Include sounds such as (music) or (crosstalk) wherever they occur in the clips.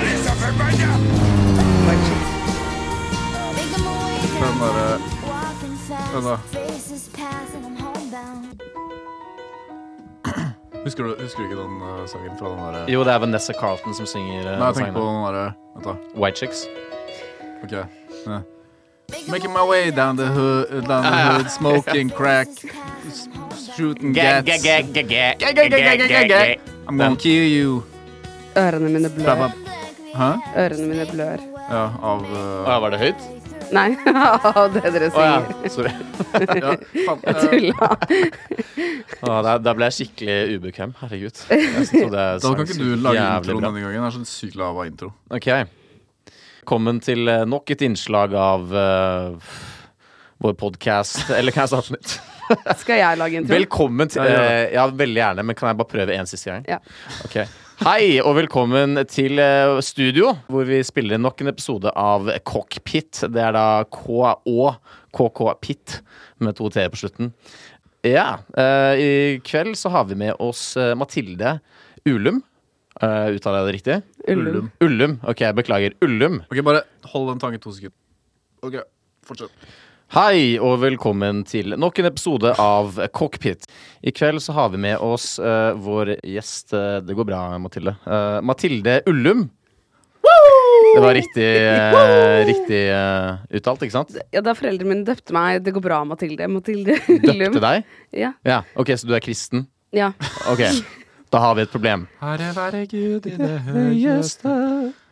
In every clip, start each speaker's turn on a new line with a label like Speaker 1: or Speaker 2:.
Speaker 1: blir så forbanna!
Speaker 2: Den derre
Speaker 3: Den da.
Speaker 2: husker, du- husker du ikke den eh, sangen fra den derre
Speaker 4: Jo, det er Vanessa Carlton som synger eh,
Speaker 2: Nei, jeg tenker
Speaker 4: sangen.
Speaker 2: på den derre Vent, da.
Speaker 4: White Chicks.
Speaker 2: OK. Ja. Making my way down the hood, down the hood smoking crack, shooting
Speaker 4: Gag,
Speaker 2: gats.
Speaker 4: gag, gag, gag, gag,
Speaker 2: Gag, gag, gag, gag, gag, gag. I'm gonna
Speaker 4: Den.
Speaker 2: kill you.
Speaker 5: Ørene mine
Speaker 2: Ba,
Speaker 5: blør.
Speaker 2: ba. Hæ?
Speaker 5: Ørene mine blør.
Speaker 2: Ja, av eh,
Speaker 4: Å, var det høyt?
Speaker 5: Nei, (laughs) av det
Speaker 4: Å
Speaker 5: dere sier.
Speaker 4: ja, sorry.
Speaker 2: ja, faen,
Speaker 5: Jeg
Speaker 2: eh,
Speaker 5: tulla.
Speaker 4: (laughs) Å, da, da ble jeg skikkelig ubekvem. Herregud. Jeg trodde
Speaker 2: Da kan
Speaker 4: jeg sang
Speaker 2: ikke
Speaker 4: så
Speaker 2: du lage
Speaker 4: jævlig
Speaker 2: introen
Speaker 4: bra.
Speaker 2: denne gangen. Det er sånn sykt lav av intro.
Speaker 4: Ok. Velkommen til eh, nok et innslag av eh, vår podkast. (laughs) Eller kan jeg starte på nytt?
Speaker 5: Skal jeg lage en til?
Speaker 4: Velkommen til
Speaker 2: Ja, ja.
Speaker 4: eh, Ja, veldig gjerne, men kan jeg bare prøve en siste gang?
Speaker 5: Ja.
Speaker 4: Ok. Hei, og velkommen til eh, studio, hvor vi spiller inn nok en episode av Cockpit. Det er da K-Å, KK-pit, med to t-er på slutten. Ja, eh, i kveld så har vi med oss eh, Mathilde Ulum. Uh, uttaler jeg det riktig?
Speaker 5: Ullum.
Speaker 4: Ullum. Ok, jeg beklager. Ullum.
Speaker 2: Ok, Bare hold den tanken to sekunder. Ok, fortsett.
Speaker 4: Hei, og velkommen til nok en episode av Cockpit. I kveld så har vi med oss eh, vår gjest eh, Det går bra, Mathilde. Eh, Mathilde Ullum. Det var riktig, eh, riktig eh, uttalt, ikke sant?
Speaker 5: Ja, da foreldrene mine døpte meg 'Det går bra, Mathilde'. Mathilde Ullum.
Speaker 4: Døpte deg?
Speaker 5: Ja.
Speaker 4: Ja, ok, så du er kristen?
Speaker 5: ja.
Speaker 4: Ok, da har vi et problem.
Speaker 2: Herre være Gud i det høyeste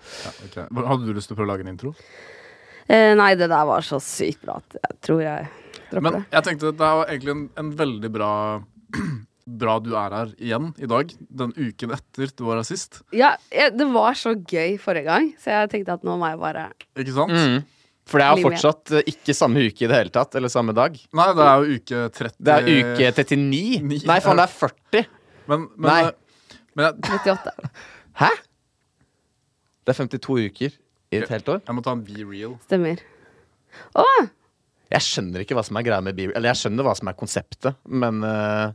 Speaker 2: ja, ok. Hadde du lyst til å prøve å lage en intro?
Speaker 5: Eh, nei, det der var så sykt bra at jeg tror jeg dropper
Speaker 2: Men
Speaker 5: det.
Speaker 2: jeg tenkte at det er jo egentlig en, en veldig bra (clears throat) Bra du er her igjen i dag. Den uken etter du var her sist.
Speaker 5: Ja, jeg, det var så gøy forrige gang, så jeg tenkte at nå må jeg bare
Speaker 2: Ikke sant?
Speaker 4: Mm. For det er
Speaker 5: Bli
Speaker 4: jo
Speaker 5: med.
Speaker 4: fortsatt eh, ikke samme uke i det hele tatt, eller samme dag.
Speaker 2: Nei, det er jo uke 30
Speaker 4: Det er uke 39.
Speaker 2: Ni.
Speaker 4: Nei, faen, det er 40.
Speaker 2: Men, men, eh,
Speaker 4: Nei.
Speaker 2: men jeg,
Speaker 5: 38.
Speaker 4: Hæ? Det er 52 uker i et helt år.
Speaker 2: jeg må ta en be real.
Speaker 5: Stemmer.
Speaker 4: Jeg skjønner ikke hva som er greia med Bieber. Eller jeg skjønner hva som er konseptet, men eh,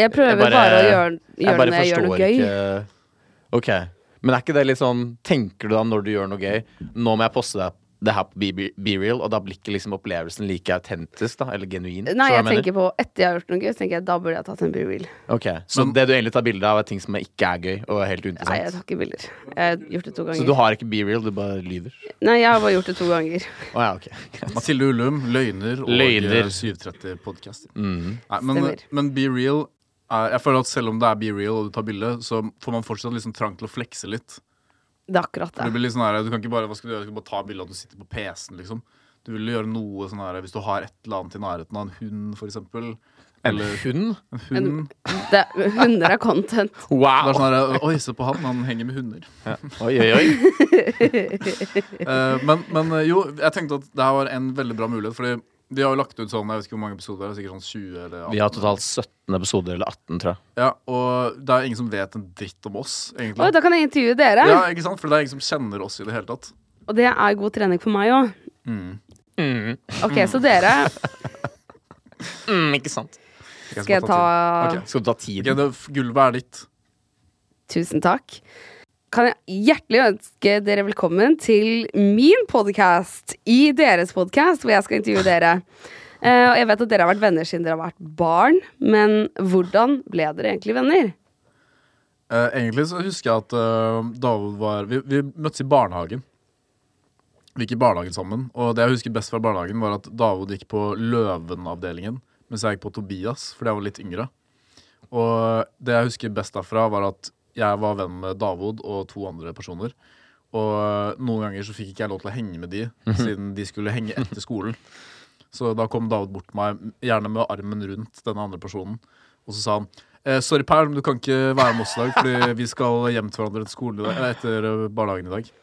Speaker 5: Jeg prøver
Speaker 4: bare-
Speaker 5: bare, å gjøre, gjøre det når jeg gjør noe gøy.
Speaker 4: ikke Ok. Men er ikke det litt sånn Tenker du da når du gjør noe gøy Nå må jeg poste deg det her på Be- Be Real, og da blir ikke liksom opplevelsen like autentisk, da? Eller genuin?
Speaker 5: Nei,
Speaker 4: Skjønner
Speaker 5: jeg
Speaker 4: du hva
Speaker 5: tenker på etter jeg har gjort noe gøy, så tenker jeg da burde jeg tatt en be-real.
Speaker 4: mener? Ok, Så
Speaker 2: Men-
Speaker 4: det du egentlig tar bilde av, er ting som ikke er gøy og er helt
Speaker 5: Nei, jeg
Speaker 4: uinteressant?
Speaker 5: tar ikke bilder. Jeg har gjort det to
Speaker 4: Så du
Speaker 5: ganger.
Speaker 4: har ikke Be Real, du bare lyver?
Speaker 5: Nei, jeg har bare gjort det to ganger.
Speaker 4: Å ja, ok.
Speaker 2: Mathilde Ullum, løgner og
Speaker 4: Løgner. Mm.
Speaker 2: 730-podkast. Nei, Men,
Speaker 5: Stemmer.
Speaker 2: men Be Real er- Jeg føler at selv om det er Be Real og du tar bilde, så får man fortsatt liksom trang til å flekse litt.
Speaker 5: Det er akkurat
Speaker 2: Du
Speaker 5: det.
Speaker 2: blir litt sånn her, du kan ikke bare, hva skal du gjøre? Du kan bare ta bilde av at du sitter på PC-en, liksom. Du vil gjøre noe sånn her hvis du har et eller annet i nærheten av en hund, for eksempel.
Speaker 4: En (laughs)
Speaker 2: Eller
Speaker 4: hund?
Speaker 2: en hund.
Speaker 5: det hunder er content.
Speaker 2: Det er
Speaker 4: Wow!
Speaker 2: sånn her, Oi, se på han, han henger med hunder.
Speaker 4: Oi, oi, oi.
Speaker 2: Eh, men, men eh, jo, jeg tenkte at det her var en veldig bra mulighet, fordi vi har jo lagt ut sånn, jeg vet ikke hvor mange episoder, det er sikkert sånn 20 eller 18.
Speaker 4: Vi har totalt 17 episoder, eller 18, tror jeg.
Speaker 2: Ja, og det er ingen som vet en dritt om oss, egentlig.
Speaker 5: Oi, da kan jeg intervjue dere!
Speaker 2: Ja, ikke sant? For det er ingen som kjenner oss i det hele tatt.
Speaker 5: Og det er god trening for meg òg.
Speaker 2: Mm,
Speaker 5: Ok, så dere
Speaker 4: Mm, ikke sant?
Speaker 5: Skal jeg ta
Speaker 2: Ok.
Speaker 4: Skal du ta tiden?
Speaker 2: Ok, det, gulvet er ditt.
Speaker 5: Tusen takk. Kan jeg hjertelig ønske dere velkommen til min podkast i deres podkast, hvor jeg skal intervjue dere. Eh, og jeg vet at dere har vært venner siden dere har vært barn, men hvordan ble dere egentlig venner?
Speaker 2: Eh, egentlig så husker jeg at eh, David var vi, vi møttes i barnehagen. Vi gikk i barnehagen sammen. Og det jeg husker best fra barnehagen, var at David gikk på Løven-avdelingen, mens jeg gikk på Tobias, fordi jeg var litt yngre. Og det jeg husker best derfra, var at jeg var venn med David og to andre personer. Og eh, noen ganger så fikk ikke jeg lov til å henge med de, siden de skulle henge etter skolen. Så da kom David bort til meg, gjerne med armen rundt denne andre personen, og så sa han eh, Sorry, Per, men du kan ikke være med oss i dag, fordi vi skal hjem til hverandre etter, skolen, i dag- eller etter eh, barnehagen i dag.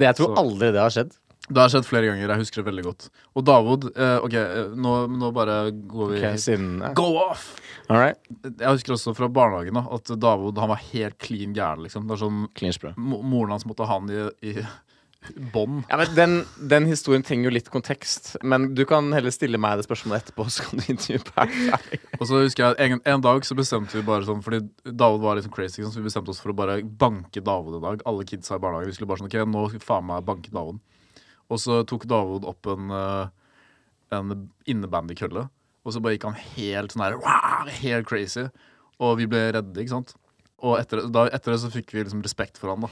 Speaker 4: Det, jeg tror
Speaker 2: Så-
Speaker 4: aldri det har skjedd.
Speaker 2: Det har skjedd flere ganger. Jeg husker det veldig godt. Og David eh, OK, eh, nå, nå bare går vi
Speaker 4: Ok, siden
Speaker 2: Go off!
Speaker 4: All right.
Speaker 2: Jeg husker også fra barnehagen da, at David han var helt klin gæren. Liksom. Det er sånn,
Speaker 4: Clean spray.
Speaker 2: mo- Moren hans måtte ha han i, i, bånd.
Speaker 4: Ja, men den, den historien trenger jo litt kontekst. Men du kan heller stille meg det spørsmålet etterpå, så kan du intervjue Per ferdig.
Speaker 2: Og så husker jeg en, en dag så bestemte vi bare sånn Fordi David var litt sånn crazy, ikke sant, så vi bestemte oss for å bare banke David en dag. Alle kidsa i barnehagen. Vi skulle bare sånn OK, nå skal vi faen meg banke David. Og så tok David opp en, eh, en innebandykølle, og så bare gikk han helt sånn her wow, Helt crazy. Og vi ble redde, ikke sant. Og etter, det- da, etter det så fikk vi liksom respekt for han, da.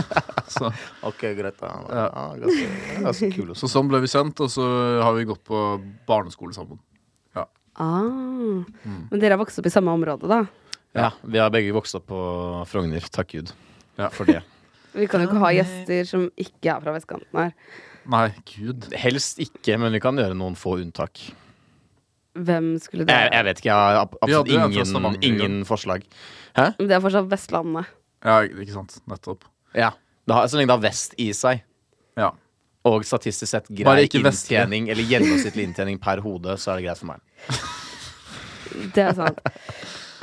Speaker 2: (laughs) Så,
Speaker 4: (laughs) Ok, greit da.
Speaker 2: Ja.
Speaker 4: ganske, ganske kul også.
Speaker 2: så sånn ble vi sendt, og så har vi gått på barneskole sammen. Ja.
Speaker 5: Ah. Men dere har vokst opp i samme område, da?
Speaker 4: Ja, vi har begge vokst opp på Frogner, takk Gud
Speaker 2: Ja.
Speaker 4: for det.
Speaker 5: Vi kan jo ikke ha gjester som ikke er fra vestkanten her.
Speaker 2: Nei, gud.
Speaker 4: Helst ikke, men vi kan gjøre noen få unntak.
Speaker 5: Hvem skulle det
Speaker 4: Jeg, jeg vet ikke, jeg har ab-
Speaker 2: Vi hadde
Speaker 4: absolutt
Speaker 2: jo en fra
Speaker 4: ingen,
Speaker 2: Stavanger,
Speaker 4: ingen forslag. Hæ?
Speaker 5: Men Det er fortsatt Vestlandet.
Speaker 2: Ja, ikke sant. Nettopp.
Speaker 4: Ja. Det har, så lenge det har vest i seg,
Speaker 2: Ja.
Speaker 4: og statistisk sett
Speaker 2: Bare
Speaker 4: grei
Speaker 2: ikke vestlig.
Speaker 4: inntjening, eller gjennomsnittlig inntjening per hode, så er det greit for meg.
Speaker 5: Det er sant.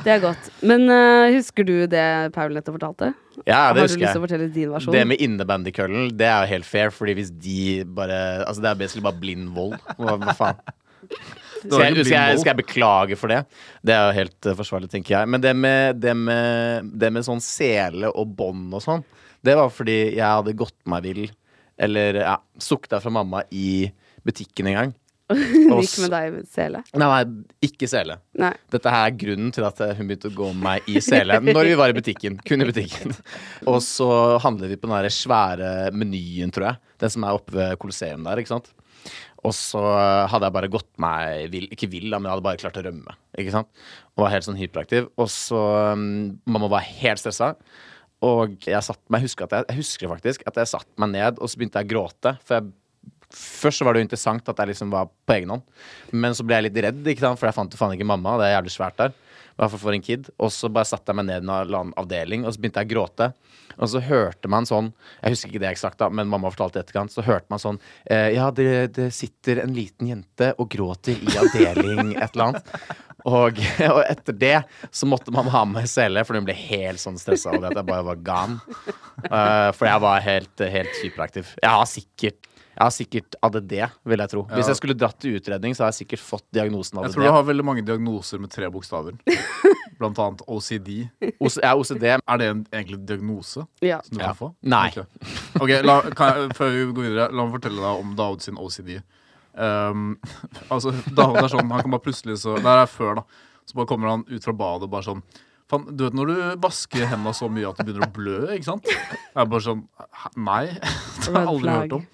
Speaker 5: Det er godt. Men eh, husker du det Paul nettopp fortalte?
Speaker 4: Ja, det
Speaker 5: har du
Speaker 4: husker
Speaker 5: lyst
Speaker 4: jeg.
Speaker 5: til å fortelle din versjon? (laughs)
Speaker 4: Det med innebandykøllen, det er jo helt fair, fordi hvis de bare Altså, det er basically bare blind vold. Hva, hva (laughs) faen?
Speaker 2: var
Speaker 4: Skal jeg,
Speaker 2: ikke blind
Speaker 4: skal, jeg,
Speaker 2: vold.
Speaker 4: skal jeg beklage for det? Det er jo helt eh, forsvarlig, tenker jeg. Men det med, det med, det med sånn sele og bånd og sånn, det var fordi jeg hadde gått meg vill, eller ja, sukta fra mamma i butikken en gang.
Speaker 5: Hun
Speaker 4: Og
Speaker 5: (laughs) gikk med deg i sele?
Speaker 4: Nei, nei, ikke sele.
Speaker 5: Nei.
Speaker 4: Dette her er grunnen til at hun begynte å gå med meg i sele når vi var i butikken. Kun i butikken. Og så handler vi på den der svære menyen, tror jeg. Den som er oppe ved Colosseum der, ikke sant. Og så hadde jeg bare gått meg vill, ikke vill, da, men jeg hadde bare klart å rømme. Ikke sant? Og var helt sånn hyperaktiv. Og så mm, Mamma var helt stressa. Og jeg satt meg, jeg husker, at jeg, jeg husker faktisk at jeg satt meg ned, og så begynte jeg å gråte. For jeg, først så var det jo interessant at jeg liksom var på egen hånd. Men så ble jeg litt redd, ikke sant? for jeg fant jo faen ikke mamma. Det er jævlig svært der. I hvert fall for en kid. Og så bare satte jeg meg ned i en eller annen avdeling, og så begynte jeg å gråte. Og så hørte man sånn Jeg husker ikke det eksakt, da, men mamma fortalte det i etterkant. Så hørte man sånn eh, Ja, det, det sitter en liten jente og gråter i avdeling et eller annet. Og, og etter det så måtte man ha med sele, for hun ble helt sånn stressa over at jeg bare var gone. Eh, for jeg var helt, helt hyperaktiv. Jeg har sikkert jeg har sikkert ADD, vil jeg tro. Hvis
Speaker 2: Ja.
Speaker 4: jeg skulle dratt til utredning, så har jeg sikkert fått diagnosen ADD.
Speaker 2: Jeg tror du har veldig mange diagnoser med tre
Speaker 4: (laughs)
Speaker 2: bokstaver. Blant annet OCD.
Speaker 4: OC, jeg har OCD.
Speaker 2: Er det en egentlig diagnose
Speaker 5: Ja.
Speaker 2: som du
Speaker 4: Ja.
Speaker 2: kan få?
Speaker 4: Nei.
Speaker 2: Ok, Ok, la, kan jeg, Før vi går videre, la meg fortelle deg om David sin OCD. Um, (laughs) altså, David er sånn, han kan bare plutselig så Det her er før, da. Så bare kommer han ut fra badet og bare sånn Fan, du vet når du vasker hendene så mye at du begynner å blø, ikke sant? Jeg er bare sånn "Hæ? Nei. (laughs) Det har jeg
Speaker 5: Red
Speaker 2: aldri
Speaker 5: flag.
Speaker 2: hørt om.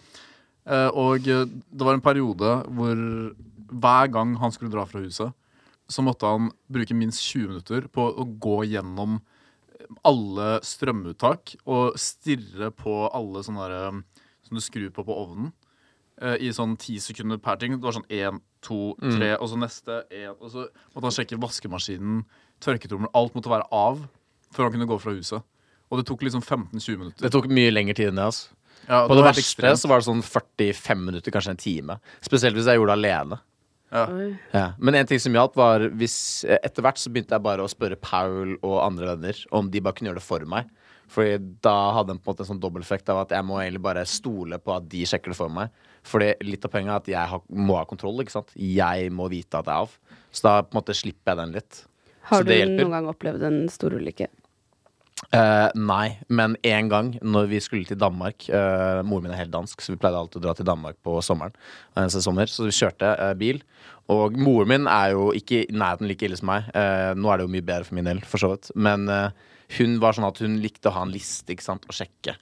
Speaker 2: Eh, og eh, det var en periode hvor hver gang han skulle dra fra huset, så måtte han bruke minst 20 minutter på å gå gjennom alle strømuttak og stirre på alle sånne der, um, som du skrur på på ovnen. eh, I sånn ti sekunder per ting. Det var sånn én, to,
Speaker 4: Mm.
Speaker 2: tre, og så neste. En, og så måtte han sjekke vaskemaskinen, tørketrommelen. Alt måtte være av før han kunne gå fra huset. Og det tok liksom 15-20 minutter.
Speaker 4: Det tok mye lengre tid enn det. Altså.
Speaker 2: Ja,
Speaker 4: På det,
Speaker 2: var helt
Speaker 4: verste
Speaker 2: ekstremt.
Speaker 4: så var det sånn 45 minutter, kanskje en time. Spesielt hvis jeg gjorde det alene.
Speaker 5: Oi.
Speaker 4: Ja. Men en ting som hjalp, var hvis eh, Etter hvert så begynte jeg bare å spørre Paul og andre venner om de bare kunne gjøre det for meg. Fordi da hadde den på en måte en sånn dobbelteffekt av at jeg må egentlig bare stole på at de sjekker det for meg. Fordi litt av poenget er at jeg har, må ha kontroll. ikke sant? Jeg må vite at det er av. Så da på en måte slipper jeg den litt.
Speaker 5: Har
Speaker 4: så
Speaker 5: du
Speaker 4: det hjelper.
Speaker 5: noen gang opplevd en stor ulykke?
Speaker 4: Eh, nei, men en gang når vi skulle til Danmark eh, Moren min er helt dansk, så vi pleide alltid å dra til Danmark på sommeren. eh, så sommer, så vi kjørte eh, bil. Og moren min er jo ikke i nærheten like ille som meg. Eh, nå er det jo mye bedre for min del, for så vidt. Men eh, hun var sånn at hun likte å ha en liste ikke sant, å sjekke.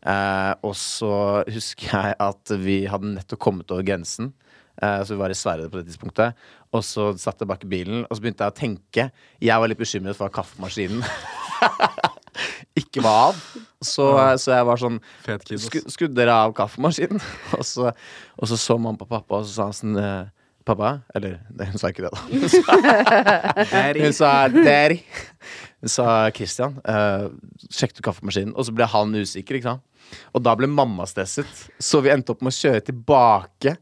Speaker 4: Eh, og så husker jeg at vi hadde nettopp kommet over grensen. Eh, Så vi var i Sverige på det tidspunktet. Og så satt jeg bak i bilen, og så begynte jeg å tenke. Jeg var litt bekymret for at kaffemaskinen ikke var av. Så, så jeg var sånn
Speaker 2: Fet kid, ass.
Speaker 4: "Skru- Skrudd dere av kaffemaskinen? (laughs) Og så, og så så man på pappa, og så sa han sånn eh, Pappa? Eller nei, hun sa ikke det, da. (laughs) Hun sa Daddy. Hun sa Christian. eh, sjekk du kaffemaskinen? Og så ble han usikker, ikke sant. Og da ble mamma stresset, så vi endte opp med å kjøre tilbake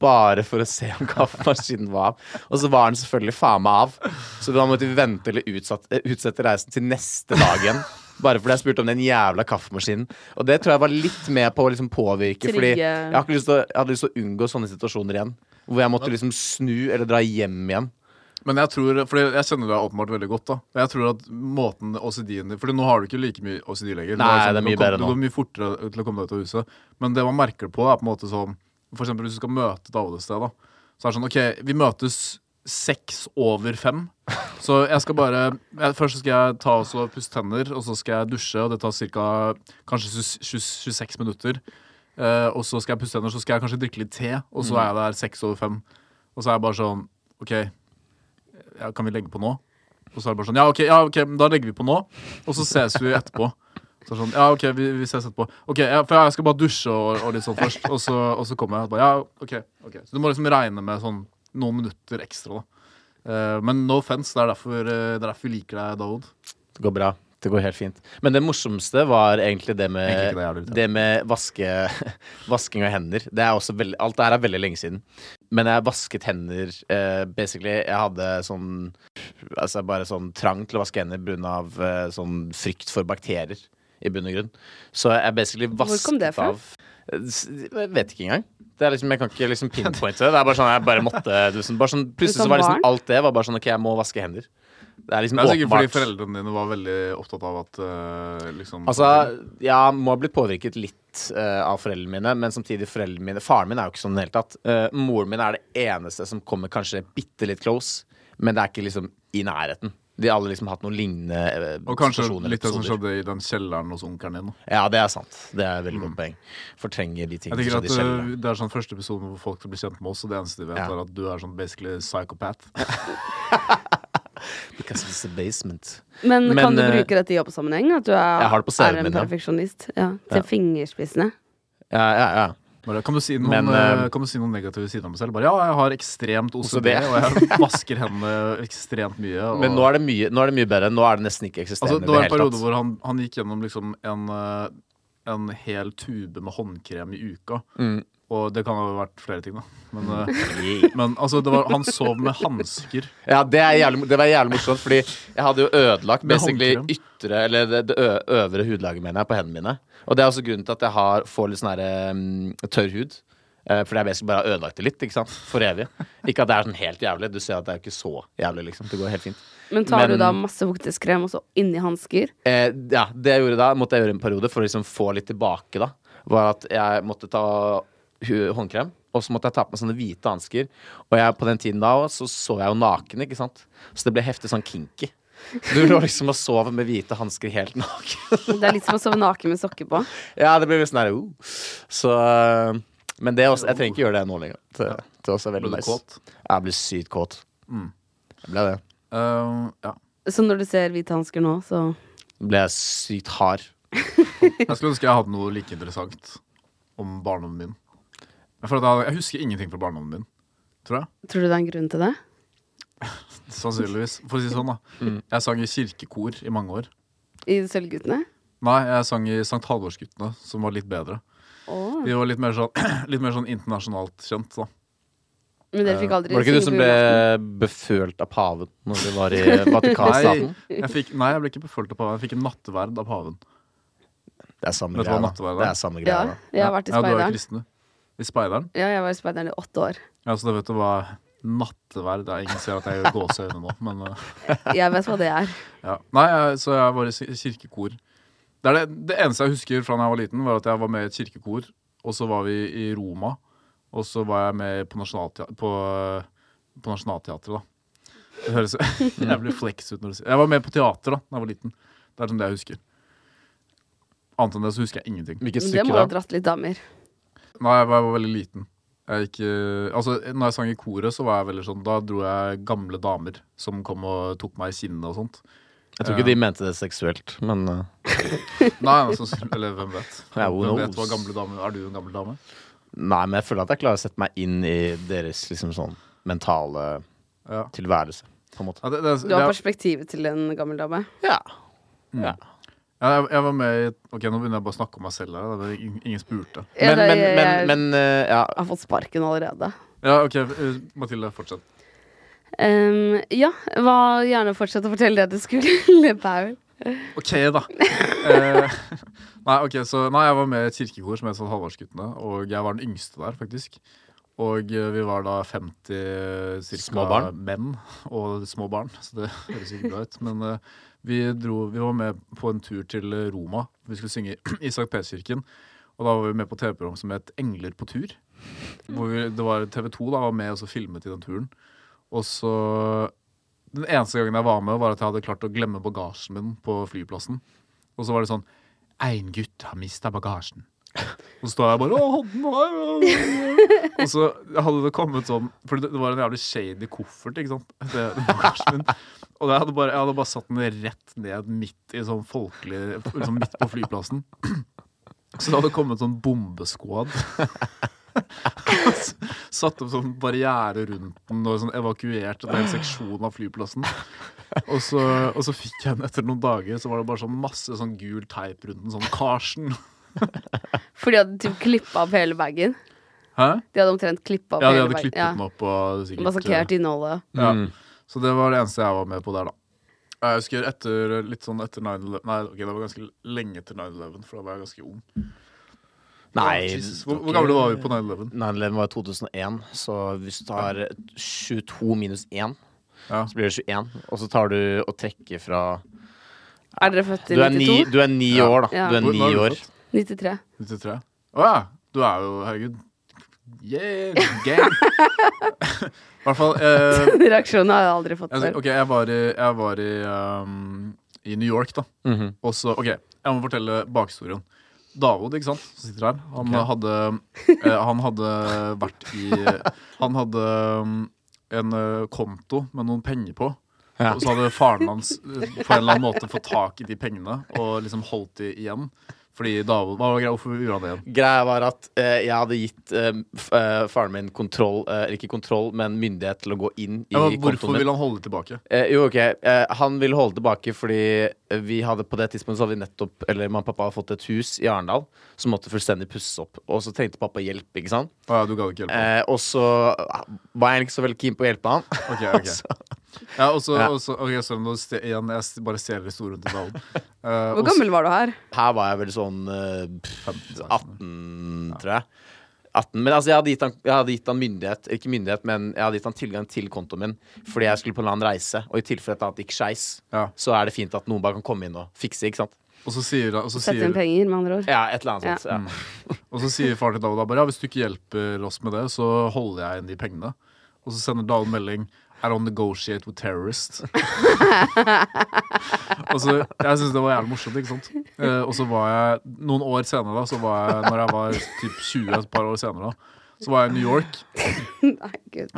Speaker 4: bare for å se om kaffemaskinen var av. Og så var den selvfølgelig faen meg av, så da måtte vi vente eller utsatt, eh, utsette reisen til neste dag igjen. Bare fordi jeg spurte om den jævla kaffemaskinen. Og det tror jeg var litt med på å liksom påvirke,
Speaker 5: Trigge.
Speaker 4: fordi jeg, har ikke lyst til å, jeg hadde lyst til å unngå sånne situasjoner igjen. Hvor jeg måtte liksom snu eller dra hjem igjen.
Speaker 2: Men jeg tror, fordi jeg kjenner deg åpenbart veldig godt. da Og Jeg tror at måten OCD-en din Fordi nå har du ikke like mye OCD lenger. Du
Speaker 4: Nei,
Speaker 2: har
Speaker 4: det er mye
Speaker 2: du kom-
Speaker 4: bedre nå.
Speaker 2: Du går mye fortere til å komme deg ut av huset. Men det man merker det på, er på en måte sånn For eksempel hvis du skal møte David et sted, da. Så er det sånn OK, vi møtes seks over fem. Så jeg skal bare jeg, Først så skal jeg ta og så pusse tenner, og så skal jeg dusje, og det tar cirka kanskje 26 minutter. Eh, og så skal jeg pusse tenner, så skal jeg kanskje drikke litt te, og
Speaker 4: Mm.
Speaker 2: så er jeg der seks over fem. Og så er jeg bare sånn OK, ja, kan vi legge på nå? Og så er det bare sånn, ja ok, ja, ok, men da legger vi på nå, og så ses vi etterpå. Så er det sånn, ja ok, vi, vi ses etterpå. Ok, ja, for jeg skal bare dusje og, og litt sånn først, og så, og så kommer jeg. og Bare, ja, ok, ok. Så du må liksom regne med sånn noen minutter ekstra da. Eh, men no offense, det er derfor, eh, det er derfor vi liker deg, David.
Speaker 4: Det går bra. Det går helt fint. Men det morsomste var egentlig det
Speaker 2: Egentlig
Speaker 4: med,
Speaker 2: ikke det jeg har lurt
Speaker 4: det
Speaker 2: etter.
Speaker 4: med vaske, (laughs) vasking av hender. Det er også veldig, alt det her er veldig lenge siden. Men jeg vasket hender eh, basically. Jeg hadde sånn Altså bare sånn trang til å vaske hender pga. Eh, sånn frykt for bakterier, i bunn og grunn. Så jeg basically vasket
Speaker 5: kom det fra?
Speaker 4: av Eh, S- Jeg vet ikke engang. Det er liksom, jeg kan ikke liksom
Speaker 2: (laughs)
Speaker 4: pinpointe det. Det er bare sånn jeg bare måtte liksom, bare sånn, Plutselig
Speaker 5: Som
Speaker 4: så var liksom
Speaker 5: barn?
Speaker 4: alt det var bare sånn OK, jeg må vaske hender. Det er liksom
Speaker 2: Det er sikkert fordi
Speaker 4: åpenbart.
Speaker 2: foreldrene dine var veldig opptatt av at eh, liksom...
Speaker 4: Altså, jeg må ha blitt påvirket litt eh, av foreldrene mine, men samtidig foreldrene mine Faren min er jo ikke sånn i det hele tatt. Eh, moren min er det eneste som kommer kanskje bitte litt close, men det er ikke liksom i nærheten. De har alle liksom hatt noen lignende eh,
Speaker 2: og kanskje
Speaker 4: situasjoner,
Speaker 2: litt det som
Speaker 4: episoder.
Speaker 2: skjedde i den kjelleren hos onkeren din. da.
Speaker 4: Ja, det er sant. Det er et veldig godt poeng. Fortrenger de
Speaker 2: Mm. Jeg
Speaker 4: tingene
Speaker 2: tenker
Speaker 4: som
Speaker 2: at
Speaker 4: de skjelver.
Speaker 2: eh, Det er sånn første episode hvor folk blir kjent med oss, og det eneste de vet,
Speaker 4: Ja.
Speaker 2: er at du er sånn basically psychopath.
Speaker 4: Because it's a basement.
Speaker 5: Men, kan
Speaker 4: Men,
Speaker 5: du
Speaker 4: eh,
Speaker 5: bruke dette i jobbsammenheng? At du er,
Speaker 4: Jeg har det på CV-en
Speaker 5: er en
Speaker 4: min, ja.
Speaker 5: perfeksjonist? Ja, til fingerspissene.
Speaker 4: Ja, ja, ja.
Speaker 2: Bare, kan, du si noen,
Speaker 4: Men,
Speaker 2: eh,
Speaker 4: eh,
Speaker 2: kan du si noen negative sider om deg selv? Bare, ja, jeg har ekstremt OCD,
Speaker 4: OCD.
Speaker 2: og jeg (laughs) vasker hendene ekstremt mye. Og,
Speaker 4: Men nå er, det mye, nå er det mye bedre. Nå er det nesten ikke
Speaker 2: altså,
Speaker 4: eksisterende.
Speaker 2: det var en
Speaker 4: i det hele
Speaker 2: periode
Speaker 4: tatt.
Speaker 2: hvor han, han gikk gjennom liksom en, eh, en hel tube med håndkrem i uka.
Speaker 4: Mm.
Speaker 2: Og det kan ha vært flere ting, da. Men, eh, (laughs) men altså, det var, han sov med hansker.
Speaker 4: Ja, det, er jævlig, det var jævlig morsomt, fordi jeg hadde jo ødelagt
Speaker 2: Med
Speaker 4: basically
Speaker 2: håndkrem.
Speaker 4: ytre, eller det, det ø- øvre hudlaget mener jeg, på hendene mine. Og det er også grunnen til at jeg har, får litt sånn her, em, tørr hud. Eh, fordi jeg basically bare har ødelagt det litt, ikke sant? For evig. Ikke at det er sånn helt jævlig. Du ser at det er ikke så jævlig, liksom. Det går helt fint.
Speaker 5: Men tar
Speaker 4: Men-
Speaker 5: du da masse vokteskrem og så inni hansker?
Speaker 4: Eh, ja, det jeg gjorde da, måtte jeg gjøre en periode for å liksom få litt tilbake, da. Var at jeg måtte ta hu- håndkrem, og så måtte jeg ta på meg sånne hvite hansker. Og jeg, på den tiden da også, så så jeg jo naken, ikke sant. Så det ble heftig sånn kinky. Du lå liksom og sov med hvite hansker helt (laughs) naken.
Speaker 5: Det er litt som å sove naken med sokker på.
Speaker 4: ja, det ble litt sånn her uh. Så eh, Men det er også, jeg trenger ikke gjøre det nå lenger. Det, det er også veldig
Speaker 2: Ble du
Speaker 4: nice.
Speaker 2: kåt? Mm.
Speaker 4: Jeg ble sykt kåt. Jeg ble det.
Speaker 2: Eh, ja.
Speaker 5: Så når du ser hvite hansker nå, så
Speaker 4: Ble jeg sykt hard.
Speaker 2: Jeg skulle ønske jeg hadde noe like interessant om barndommen min. Jeg, føler at jeg, hadde- jeg husker ingenting fra barndommen min, tror jeg.
Speaker 5: tror du det er en grunn til det?
Speaker 2: Sannsynligvis. For å si det sånn, da. Jeg sang i kirkekor i mange år.
Speaker 5: I Sølvguttene?
Speaker 2: Nei, jeg sang i Sankt Halvorsguttene, som var litt bedre.
Speaker 5: Åh.
Speaker 2: De var litt mer sånn, (clears throat) litt mer sånn internasjonalt kjent, da.
Speaker 5: Men dere fikk aldri
Speaker 4: Var det ikke du
Speaker 5: synge
Speaker 4: som
Speaker 5: på
Speaker 4: ble
Speaker 5: julaften?
Speaker 4: befølt av paven når du var i (laughs)
Speaker 2: Nei,
Speaker 4: Vatikanstaten?
Speaker 2: jeg, fikk, nei, jeg ble ikke befølt av paven. Jeg fikk en nattverd av paven.
Speaker 4: Det er samme
Speaker 2: Vet du hva
Speaker 4: greia. da.
Speaker 2: nattverd er?
Speaker 4: Det er samme
Speaker 5: Ja,
Speaker 4: greia. da.
Speaker 5: jeg har vært i
Speaker 2: Ja, du er jo
Speaker 5: Speideren.
Speaker 2: kristen, du. I Speideren?
Speaker 5: Ja, jeg var i Speideren i åtte år.
Speaker 2: Ja, så da vet du hva nattverd er. Ingen ser at jeg gjør gåseøyne nå, men eh,
Speaker 5: Jeg vet hva det er.
Speaker 2: Ja. Nei, jeg, så jeg var i si- kirkekor. Det, er det, det eneste jeg husker fra da jeg var liten, var at jeg var med i et kirkekor. Og så var vi i Roma. Og så var jeg med på, nasjonaltea- på, på Nationaltheatret, da. Det høres (laughs) Jeg blir flex ut når du sier Jeg var med på teater da da jeg var liten. Det er sånn det jeg husker. Annet enn det så husker jeg ingenting.
Speaker 4: Hvilket
Speaker 5: Men det må
Speaker 4: stykke
Speaker 5: ha
Speaker 4: da?
Speaker 5: dratt litt damer.
Speaker 2: Nei, jeg var, jeg var veldig liten. Jeg gikk, eh, altså, når jeg sang i koret, så var jeg veldig sånn Da dro jeg gamle damer som kom og tok meg i kinnet og sånt.
Speaker 4: Jeg tror ikke de mente det seksuelt, men uh,
Speaker 2: Nei, men så- eller hvem vet?
Speaker 4: (laughs) Ja, who
Speaker 2: hvem vet
Speaker 4: knows?
Speaker 2: hva gamle damer Er du en gammel dame?
Speaker 4: Nei, men jeg føler at jeg klarer å sette meg inn i deres liksom sånn mentale
Speaker 2: Ja.
Speaker 4: tilværelse, på en måte.
Speaker 2: Ja, det, det,
Speaker 5: Du har
Speaker 2: det,
Speaker 5: perspektivet til en gammel dame.
Speaker 4: Ja.
Speaker 2: Mm.
Speaker 4: ja.
Speaker 2: ja, jeg, jeg var med i Ok, nå begynner jeg bare å snakke om meg selv her. da. Det, ingen, ingen spurte.
Speaker 5: Ja,
Speaker 4: Men,
Speaker 5: det-
Speaker 4: men, men,
Speaker 5: jeg-
Speaker 4: men uh, ja.
Speaker 5: Jeg eh, har fått sparken allerede.
Speaker 2: Ja, ok, eh, Mathilde, fortsett.
Speaker 5: Ehm, ja, hva, gjerne fortsett å fortelle det du skulle, (laughs) Paul.
Speaker 2: OK, da. Eh, (laughs) nei, ok, så Nei, jeg var med i et kirkekor som het sånn Halvorsguttene, og jeg var den yngste der, faktisk. Og eh, vi var da 50 cirka,
Speaker 4: Små barn?
Speaker 2: menn og små barn, så det (laughs) høres ikke bra ut. Men eh, vi, dro, vi var med på en tur til eh, Roma. Vi skulle synge (clears throat) i Sankt Peterskirken. Og da var vi med på TV-program som het Engler på tur. Hvor vi, det var TV 2 da, var med og så filmet i den turen. Og så Den eneste gangen jeg var med, var at jeg hadde klart å glemme bagasjen min på flyplassen. Og så var det sånn Én gutt har mista bagasjen. Og så står jeg bare Å, den var jo-" Og så hadde det kommet sånn For det, det var en jævlig shady koffert, ikke sant. Det, det bagasjen min. Og jeg hadde, bare, jeg hadde bare satt den rett ned midt i sånn folkelig liksom Midt på flyplassen. Så det hadde kommet sånn bombesquad. Satt opp sånn barriere rundt den og sånn evakuert en hel seksjon av flyplassen. Og så, og så fikk jeg den etter noen dager, så var det bare sånn masse sånn gul teip rundt den. Sånn Karsten.
Speaker 5: For de hadde typ klippa opp hele bagen.
Speaker 2: Hæ?
Speaker 5: De hadde omtrent klippa opp
Speaker 2: Ja, de
Speaker 5: hele
Speaker 2: hadde
Speaker 5: bagen.
Speaker 2: klippet den opp og sikkert eh,
Speaker 5: Massakrert innholdet.
Speaker 2: Ja.
Speaker 4: Mm.
Speaker 2: Så det var det eneste jeg var med på der, da. Jeg husker etter, litt sånn etter 9-11 Nei, ok, det var ganske lenge etter 9-11, for da var jeg ganske ung.
Speaker 4: Nei,
Speaker 2: Jesus, hvor, hvor gamle var vi på 9-11?
Speaker 4: 9-11 var i 2001, så hvis du tar 22 minus 1,
Speaker 2: Ja.
Speaker 4: så blir det 21. Og så tar du og trekker fra
Speaker 5: Er dere født
Speaker 4: Du
Speaker 5: i
Speaker 4: er ni,
Speaker 5: 92?
Speaker 4: du er ni år, da.
Speaker 5: Ja.
Speaker 4: Du er
Speaker 2: Hvor-
Speaker 4: ni
Speaker 2: når er du
Speaker 4: år.
Speaker 2: født?
Speaker 5: 93.
Speaker 2: 93? Å ja! Du er jo Herregud. Yeah, gang! (laughs) I hvert fall eh,
Speaker 5: Den (laughs) reaksjonen har jeg aldri fått
Speaker 2: jeg,
Speaker 5: før.
Speaker 2: Altså, Ok, jeg var i, jeg var i, um, i New York, da.
Speaker 4: Mhm.
Speaker 2: Og så, ok, jeg må fortelle bakhistorien. Davod, ikke sant, som sitter her, han,
Speaker 4: Ok.
Speaker 2: hadde, eh, han hadde vært i Han hadde um, en eh, konto med noen penger på.
Speaker 4: Ja.
Speaker 2: Og så hadde faren hans eh, på en eller annen måte fått tak i de pengene og liksom holdt de igjen. Fordi Davod, hva var greia, Hvorfor gjorde han det igjen?
Speaker 4: Greia var at eh, jeg hadde gitt eh, f- eh, faren min kontroll, eh, eller ikke kontroll, men myndighet til å gå inn i
Speaker 2: Ja, men
Speaker 4: kontoen
Speaker 2: hvorfor
Speaker 4: min.
Speaker 2: vil han holde det tilbake?
Speaker 4: Eh, jo, ok. Eh, han ville holde tilbake fordi eh, vi hadde på det tidspunktet så hadde vi nettopp Eller mamma og pappa hadde fått et hus i Arendal som måtte fullstendig pusses opp. Og så trengte pappa hjelp, ikke sant.
Speaker 2: Å ja, du gadd ikke hjelpe?
Speaker 4: Eh, og så ah, var jeg ikke så veldig keen på å hjelpe han. (laughs)
Speaker 2: Ok, ok Ja, og så
Speaker 4: Eh, altså. Ja.
Speaker 2: og så- ok, sorry, nå ste- igjen, jeg st- bare ser historien til
Speaker 4: (laughs)
Speaker 2: Dalen. Eh, og
Speaker 5: Hvor gammel var du her?
Speaker 4: Her var jeg vel sånn eh, pff, 18,
Speaker 2: 18.
Speaker 4: tror jeg. 18. Men altså, jeg hadde, gitt han, jeg hadde gitt han myndighet, ikke myndighet, men jeg hadde gitt han tilgang til kontoen min fordi jeg skulle på en eller annen reise, og i tilfelle et eller annet gikk skeis,
Speaker 2: Ja.
Speaker 4: så er det fint at noen bare kan komme inn og fikse, ikke sant?
Speaker 2: Og så sier, og så
Speaker 5: Sette inn
Speaker 2: sier,
Speaker 5: penger, med andre ord.
Speaker 4: Ja, et eller annet sånt. Ja.
Speaker 2: og så sier faren til Dalen da bare ja, hvis du ikke hjelper oss med det, så holder jeg igjen de pengene. Og så sender Dalen melding I don't negotiate with terrorists. og så, Jeg syns det var jævlig morsomt. ikke sant? Eh, og så var jeg noen år senere, da, så var jeg, når jeg var typ 20, et par år senere, da, så var jeg i New York.
Speaker 5: (laughs) Nei, gud.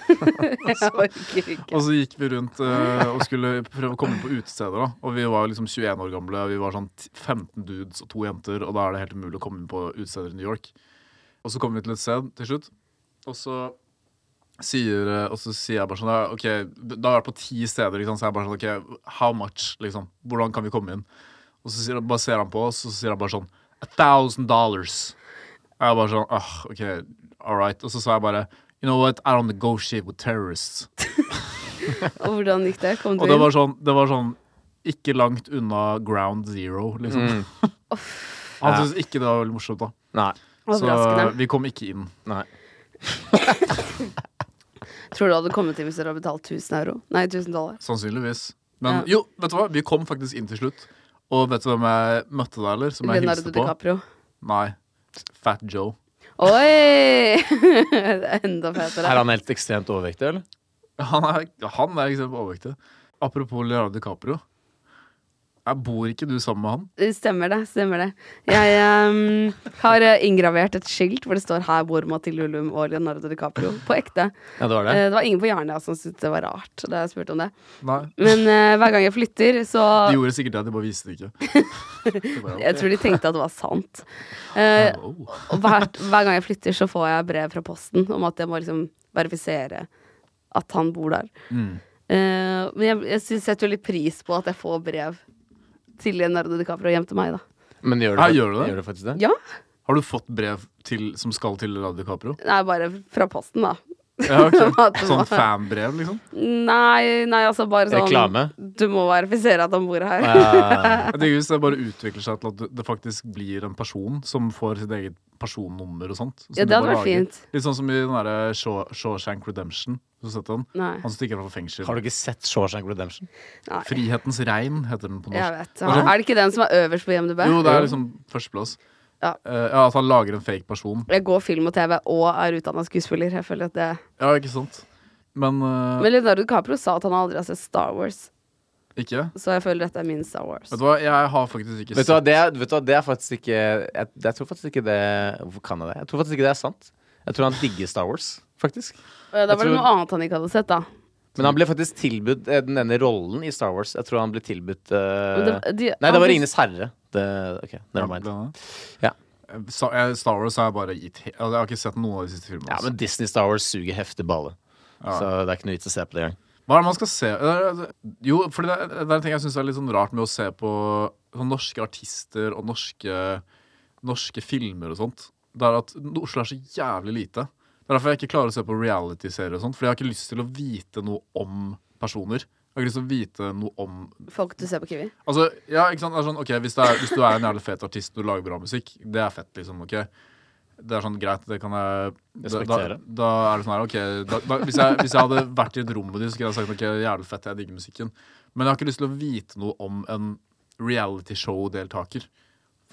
Speaker 5: (laughs) jeg orker ikke.
Speaker 2: Og så gikk vi rundt eh, og skulle prøve å komme inn på utesteder. da Og vi var liksom 21 år gamle. Vi var sånn t- 15 dudes og to jenter, og da er det helt umulig å komme inn på utesteder i New York. Og så kom vi til et sted til slutt, og så sier, eh, og så sier jeg bare sånn ja, Ok, da har jeg vært på ti steder, ikke sant, så jeg bare sånn OK, how much? Liksom. Hvordan kan vi komme inn? Og så sier, han- bare ser han på oss, og så sier han bare sånn A thousand dollars. Og jeg bare sånn Åh, OK, all right. Og så sa jeg bare You know what, I don't negotiate with terrorists.
Speaker 5: Og hvordan gikk det? Kom du
Speaker 2: Og det
Speaker 5: inn?
Speaker 2: var sånn, det var sånn ikke langt unna ground zero, liksom. (laughs) Han syntes ikke det var veldig morsomt, da.
Speaker 4: Nei.
Speaker 2: Så
Speaker 5: Overraskende.
Speaker 2: vi kom ikke inn.
Speaker 4: Nei.
Speaker 5: Tror du hadde kommet inn hvis dere hadde betalt 1000 euro? Nei, 1000 dollar.
Speaker 2: Sannsynligvis. Men
Speaker 5: Ja.
Speaker 2: jo, vet du hva? Vi kom faktisk inn til slutt. Og vet du hvem jeg møtte der, eller? Som jeg
Speaker 5: Leonardo
Speaker 2: hilste på?
Speaker 5: DiCaprio.
Speaker 2: Nei. Fat Joe. (laughs)
Speaker 5: Oi! (laughs) det er enda fetere.
Speaker 4: Er han helt ekstremt overvektig, eller?
Speaker 2: Han er, han er ekstremt overvektig. Apropos Leonardo DiCaprio. Jeg bor ikke du sammen med han?
Speaker 5: Stemmer det. stemmer det Jeg ehm, har eh, inngravert et skilt hvor det står 'Her bor Mathilde Ullum og Leonardo DiCaprio'. På ekte.
Speaker 4: Ja, det var det.
Speaker 5: Eh, Det var ingen på Jernia som syntes det var rart da jeg spurte om det.
Speaker 2: Nei.
Speaker 5: Men eh, hver gang jeg flytter, så
Speaker 2: De gjorde sikkert det, de bare viste det ikke.
Speaker 5: (laughs)
Speaker 2: Det var,
Speaker 5: Jeg tror de tenkte at det var sant. Eh,
Speaker 2: oh.
Speaker 5: og hvert, hver gang jeg flytter, så får jeg brev fra posten om at jeg må liksom verifisere at han bor der.
Speaker 2: Mm.
Speaker 5: Eh, men jeg, jeg synes- setter jo litt pris på at jeg får brev til Leonardo DiCaprio hjem til meg, da.
Speaker 4: Men gjør du,
Speaker 2: Ja, gjør du det?
Speaker 4: gjør du faktisk det?
Speaker 5: Ja,
Speaker 2: Har du fått brev til, som skal til Leonardo DiCaprio?
Speaker 5: Nei, bare fra posten, da.
Speaker 2: Ja,
Speaker 5: (laughs) At
Speaker 2: ok.
Speaker 5: du må-
Speaker 2: Sånn fanbrev, liksom?
Speaker 5: Nei, nei, altså bare sånn
Speaker 4: Reklame?
Speaker 5: Du må verifisere at han bor her.
Speaker 4: Eh,
Speaker 2: Jeg tenker Hvis det bare utvikler seg til at det faktisk blir en person som får sitt eget personnummer og sånt. som
Speaker 5: Ja, det
Speaker 2: du
Speaker 5: hadde
Speaker 2: bare
Speaker 5: vært
Speaker 2: lager.
Speaker 5: fint.
Speaker 2: Litt sånn som i den derre Shaw- Shawshank Redemption. Har Du sett den?
Speaker 5: Nei.
Speaker 2: Han som stikker fra fengsel.
Speaker 4: har du ikke sett Shawshank Redemption?
Speaker 5: (laughs) Nei.
Speaker 2: Frihetens regn heter den på norsk. sånn-
Speaker 5: Jeg vet. Er det ikke den som er øverst på IMDb?
Speaker 2: Jo, det er liksom førsteplass.
Speaker 5: Ja.
Speaker 2: Eh, ja, at han lager en fake person.
Speaker 5: Jeg går film og TV og er utdanna skuespiller. Jeg føler at det
Speaker 2: Ja, ikke sant? Men, eh,
Speaker 5: Men Leonardo DiCaprio sa at han aldri har sett Star Wars,
Speaker 2: ikke.
Speaker 5: så jeg føler dette er min Star Wars.
Speaker 2: Vet du hva, jeg har faktisk ikke
Speaker 4: Vet du hva, det, er- vet du hva, det er faktisk ikke jeg, jeg tror faktisk ikke det Hvorfor kan jeg det? Jeg tror faktisk ikke det er sant. Jeg tror han digger Star Wars, faktisk.
Speaker 5: Og Eh, Da
Speaker 4: Jeg
Speaker 5: var det
Speaker 4: tror-
Speaker 5: noe annet han ikke hadde sett, da.
Speaker 4: Men han ble faktisk tilbudt eh, den ene rollen i Star Wars. Jeg tror han ble tilbudt eh,
Speaker 5: Men det- de-
Speaker 4: Nei,
Speaker 5: han-
Speaker 4: det var Ringenes herre. Det, ok, never mind. Ja.
Speaker 2: Eh, Sa- jeg- Star Wars har jeg bare gitt he- altså, Jeg har ikke sett noen av de siste filmene.
Speaker 4: Ja,
Speaker 2: altså.
Speaker 4: men Disney Star Wars suger heftig balle. Så det er ikke noe vits å se på det engang.
Speaker 2: Hva er det man skal se? Eh, Jo, for det, det er en ting jeg syns er litt sånn rart med å se på sånn norske artister og norske, norske filmer og sånt. Det er at Oslo er så jævlig lite. Det er derfor jeg ikke klarer å se på reality-serier og sånt. Fordi jeg har ikke lyst til å vite noe om personer. Jeg har ikke lyst til å vite noe om
Speaker 5: Folk du ser på Kiwi.
Speaker 2: Altså, ja, ikke sant? Det er sånn, ok, hvis, det er, hvis du er en jævlig fet artist og du lager bra musikk, det er fett, liksom. ok? Det er sånn, greit, det kan jeg da, da,
Speaker 4: Respektere.
Speaker 2: da er det sånn her, ok da, da, hvis, jeg, hvis jeg hadde vært i et rom med de, så skulle jeg sagt ok, jævlig fett, jeg digger musikken. Men jeg har ikke lyst til å vite noe om en realityshow-deltaker.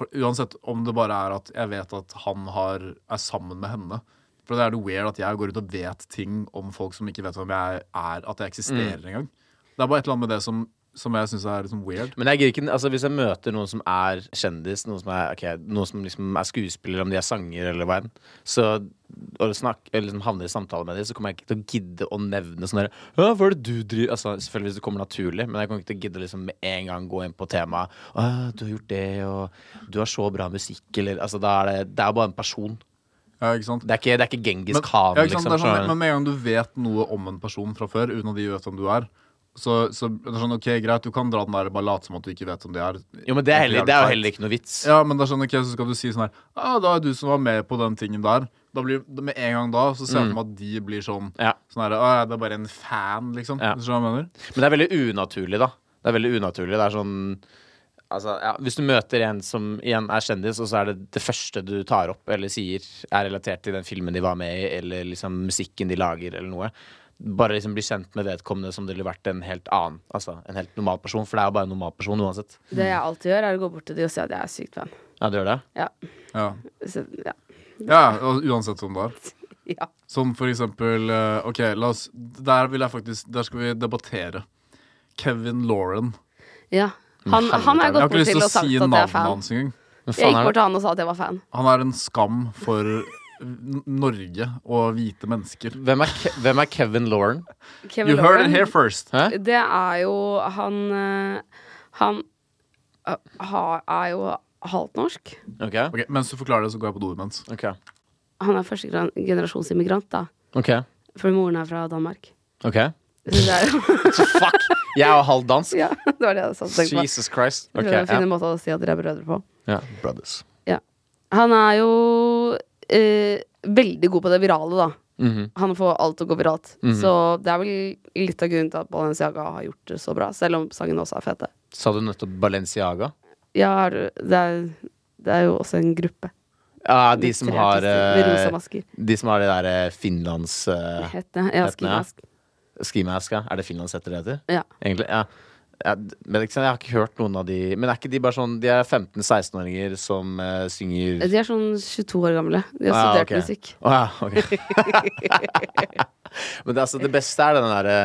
Speaker 2: For Uansett om det bare er at jeg vet at han har, er sammen med henne. For det er det weird at jeg går ut og vet ting om folk som ikke vet hvem jeg er, at jeg eksisterer engang. Det er bare et eller annet med det som, som jeg syns er liksom weird.
Speaker 4: Men jeg gir ikke, altså hvis jeg møter noen som er kjendis, noen som er, ok, noen som liksom er skuespiller, om de er sanger eller hva enn, så og snakk, eller liksom havner i samtale med dem, så kommer jeg ikke til å gidde å nevne sånn der, «Å, Hva er det du driver altså, Selvfølgelig hvis det kommer naturlig, men jeg kommer ikke til å gidde liksom med en gang gå inn på temaet. Å, du har gjort det, og du har så bra musikk, eller altså, da er det, det er bare en person.
Speaker 2: Ja, ikke sant?
Speaker 4: Det er ikke, det er ikke Genghis
Speaker 2: Men-
Speaker 4: Khan,
Speaker 2: ja, ikke sant, det
Speaker 4: liksom.
Speaker 2: er sånn,
Speaker 4: skjønner du?
Speaker 2: men med en gang du vet noe om en person fra før, uten at de vet hvem du er, så, så det er sånn, ok, greit, du kan dra den der bare late som at du ikke vet hvem de er.
Speaker 4: jo, men det er, heller, det er
Speaker 2: Jævlig
Speaker 4: jo heller ikke noe vits.
Speaker 2: Ja, men det er sånn, ok, så skal du si sånn her ah, da er du som var med på den tingen der. Da blir, med en gang da, så
Speaker 5: Mm.
Speaker 2: ser jeg for meg at de blir sånn
Speaker 4: Ja.
Speaker 2: Sånn her, ah, det er bare en fan, liksom.
Speaker 4: Ja.
Speaker 2: Skjønner du hva jeg mener?
Speaker 4: Men det er veldig unaturlig, da. Det er veldig unaturlig. Det er sånn Altså, ja, hvis du møter en som igjen er kjendis, og så er det det første du tar opp eller sier, er relatert til den filmen de var med i, eller liksom musikken de lager, eller noe. Bare liksom bli kjent med vedkommende som det ville vært en helt annen. Altså en helt normal person, for det er jo bare en normal person uansett.
Speaker 5: Det
Speaker 2: Mm.
Speaker 5: jeg alltid gjør, er å gå bort til de og si at jeg er sykt fan.
Speaker 4: Ja, du gjør det?
Speaker 5: Ja.
Speaker 2: Ja.
Speaker 5: Så, ja.
Speaker 2: ja, og uansett hvem det er.
Speaker 5: ja.
Speaker 2: Som for eksempel eh, OK, la oss Der vil jeg faktisk Der skal vi debattere. Kevin Lauren.
Speaker 5: ja. Han,
Speaker 4: helvete,
Speaker 5: han har
Speaker 2: Mm, Jeg har
Speaker 4: jeg
Speaker 5: jeg gått
Speaker 2: ikke
Speaker 5: bort
Speaker 2: lyst
Speaker 5: til
Speaker 2: til å
Speaker 5: og sagt
Speaker 2: si
Speaker 5: at jeg er
Speaker 2: navnet
Speaker 5: fan.
Speaker 2: hans engang.
Speaker 4: Men
Speaker 5: Jeg
Speaker 4: faen
Speaker 5: gikk
Speaker 4: er det?
Speaker 5: bort til han og sa at jeg var fan.
Speaker 2: Han er en skam for N- Norge og hvite mennesker.
Speaker 4: Hvem er, Ke hvem er Kevin Lauren?
Speaker 5: Kevin
Speaker 2: You heard
Speaker 5: Lauren,
Speaker 2: it here first.
Speaker 4: Hæ?
Speaker 5: Det er jo han eh, Han eh, ha- er jo halvt norsk.
Speaker 4: Ok?
Speaker 2: Ok, Mens du forklarer det, så går jeg på do imens.
Speaker 4: Ok.
Speaker 5: Han er første gran- generasjons immigrant, da.
Speaker 4: Ok.
Speaker 5: For moren er fra Danmark.
Speaker 4: Ok.
Speaker 5: Så det er jo (laughs)
Speaker 4: Fuck! Jeg er jo halvt dansk.
Speaker 5: Ja, det var det jeg satt og tenkte på.
Speaker 4: Jesus Christ.
Speaker 5: Jeg
Speaker 4: Ok.
Speaker 5: prøvde å
Speaker 4: Ja.
Speaker 5: finne en måte å si at dere er brødre på.
Speaker 4: ja. Brothers.
Speaker 5: Ja. Han er jo eh, veldig god på det virale, da.
Speaker 4: Mhm.
Speaker 5: Han får alt til å gå viralt. Så det er vel litt av grunnen til at Balenciaga har gjort det så bra, selv om sangene også er fete.
Speaker 4: Sa du nettopp Balenciaga?
Speaker 5: Ja, er du- det er, det er jo også en gruppe.
Speaker 4: Ja, de som
Speaker 5: Tre
Speaker 4: har
Speaker 5: artister Med rosa
Speaker 4: eh,
Speaker 5: masker.
Speaker 4: De som har de der eh, Finlands uh,
Speaker 5: Hette. Ja,
Speaker 4: Hettene, ja.
Speaker 5: skimask.
Speaker 4: skimask, ja. Er det Finlands heter det heter?
Speaker 5: Ja.
Speaker 4: Egentlig, ja. Ja, d- men ikke sant, jeg har ikke hørt noen av de Men er ikke de bare sånn De er 15-16-åringer som eh, synger
Speaker 5: De er sånn 22 år gamle. De har
Speaker 4: Ah,
Speaker 5: studert
Speaker 4: ok.
Speaker 5: musikk.
Speaker 4: Å, ja, ok. (laughs) Men det, altså, det beste er den derre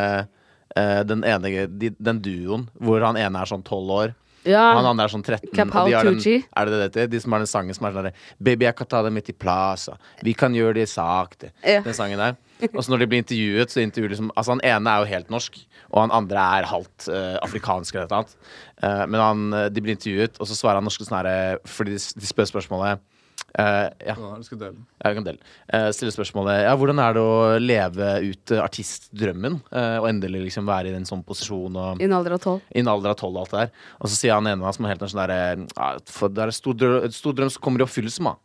Speaker 4: eh, den, ene, de, den duoen hvor han ene er sånn 12 år,
Speaker 5: Ja.
Speaker 4: han andre er sånn 13.
Speaker 5: Kapow
Speaker 4: og de har den,
Speaker 5: Ah. Tucci.
Speaker 4: er det det det heter? De som har den sangen som er sånn der, Baby, jeg kan ta det midt i plaza. Vi kan gjøre det sakte.
Speaker 5: Ja.
Speaker 4: Den sangen der. Og så når de blir intervjuet, så intervjuer liksom Altså, han ene er jo helt norsk, og han andre er halvt eh, afrikansk eller et eller annet. Eh, men han, eh, de blir intervjuet, og så svarer han norske sånn herre Fordi de, s- de spør spørsmålet eh, ja,
Speaker 2: Ja, du skal dele den.
Speaker 4: jeg kan dele. Eh, stille spørsmålet ja, hvordan er det å leve ut eh, artistdrømmen, eh, og endelig liksom være i en sånn posisjon og
Speaker 5: I en alder av tolv.
Speaker 4: i en alder av tolv og alt det der. Og så sier han ene av oss som er helt sånn derre ja, for Det er en stor drøm, stor drøm som kommer i oppfyllelse, mann.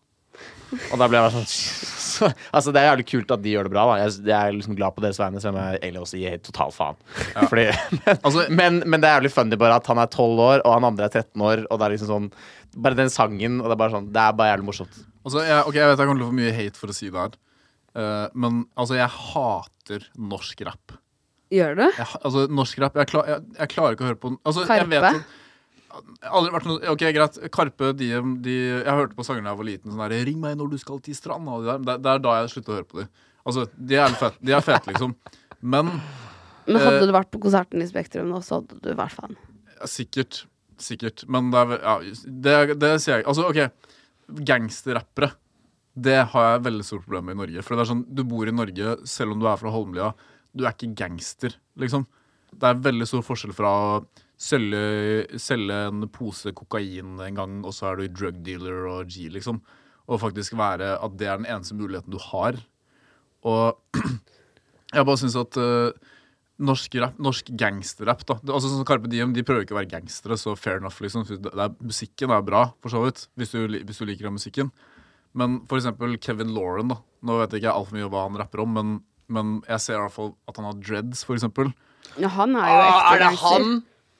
Speaker 4: Og da ble jeg bare sånn (laughs) Jesus. så, altså, det er jævlig kult at de gjør det bra. Da. Jeg, jeg er liksom glad på deres vegne, selv om jeg egentlig også gir total faen. (laughs) Fordi, men,
Speaker 2: Altså-
Speaker 4: men, men det er jævlig funny bare at han er 12 år, og han andre er 13 år, og det er liksom sånn Bare den sangen, og det er bare sånn Det er bare jævlig morsomt.
Speaker 2: Altså, jeg, ok, jeg vet jeg kommer til å få mye hate for å si det her, eh, men altså, jeg hater norsk rap.
Speaker 5: Gjør du?
Speaker 2: Jeg, ha- altså, norsk rap jeg, klar, jeg, jeg klarer ikke å høre på den. altså, jeg vet
Speaker 5: Karpe?
Speaker 2: at- jeg har aldri vært noe, ok, greit, Karpe, de, de, jeg hørte på sangene da jeg var liten. Sånn der, 'Ring meg når du skal til stranda'. og de der. Det, det er da jeg sluttet å høre på dem. Altså, de er fete, de er fete liksom. Men
Speaker 5: Men
Speaker 2: Eh,
Speaker 5: hadde du vært på konserten i Spektrum nå, så hadde du vært fan.
Speaker 2: ja, sikkert. Sikkert. Men det er vel- ja, det, det sier jeg ikke. Altså, OK. Gangsterrappere. Det har jeg veldig stort problem med i Norge. For det er sånn, Du bor i Norge selv om du er fra Holmlia. Du er ikke gangster, liksom. Det er veldig stor forskjell fra å selge, selge en pose kokain en gang, og så er du drug dealer og G, liksom. Og faktisk være at det er den eneste muligheten du har. Og jeg bare syns at eh, norsk rap, norsk gangsterrap, da. Det- Altså sånn som Carpe Diem, de prøver ikke å være gangstere, så fair enough, liksom. Det er, musikken er bra, for så vidt, hvis du, li- hvis du liker den musikken. Men for eksempel Kevin Lauren, da. Nå vet jeg ikke altfor mye hva han rapper om, men, men jeg ser i hvert fall at han har dreads, for eksempel.
Speaker 4: Ah,
Speaker 5: Ja, han er jo ekte gangster.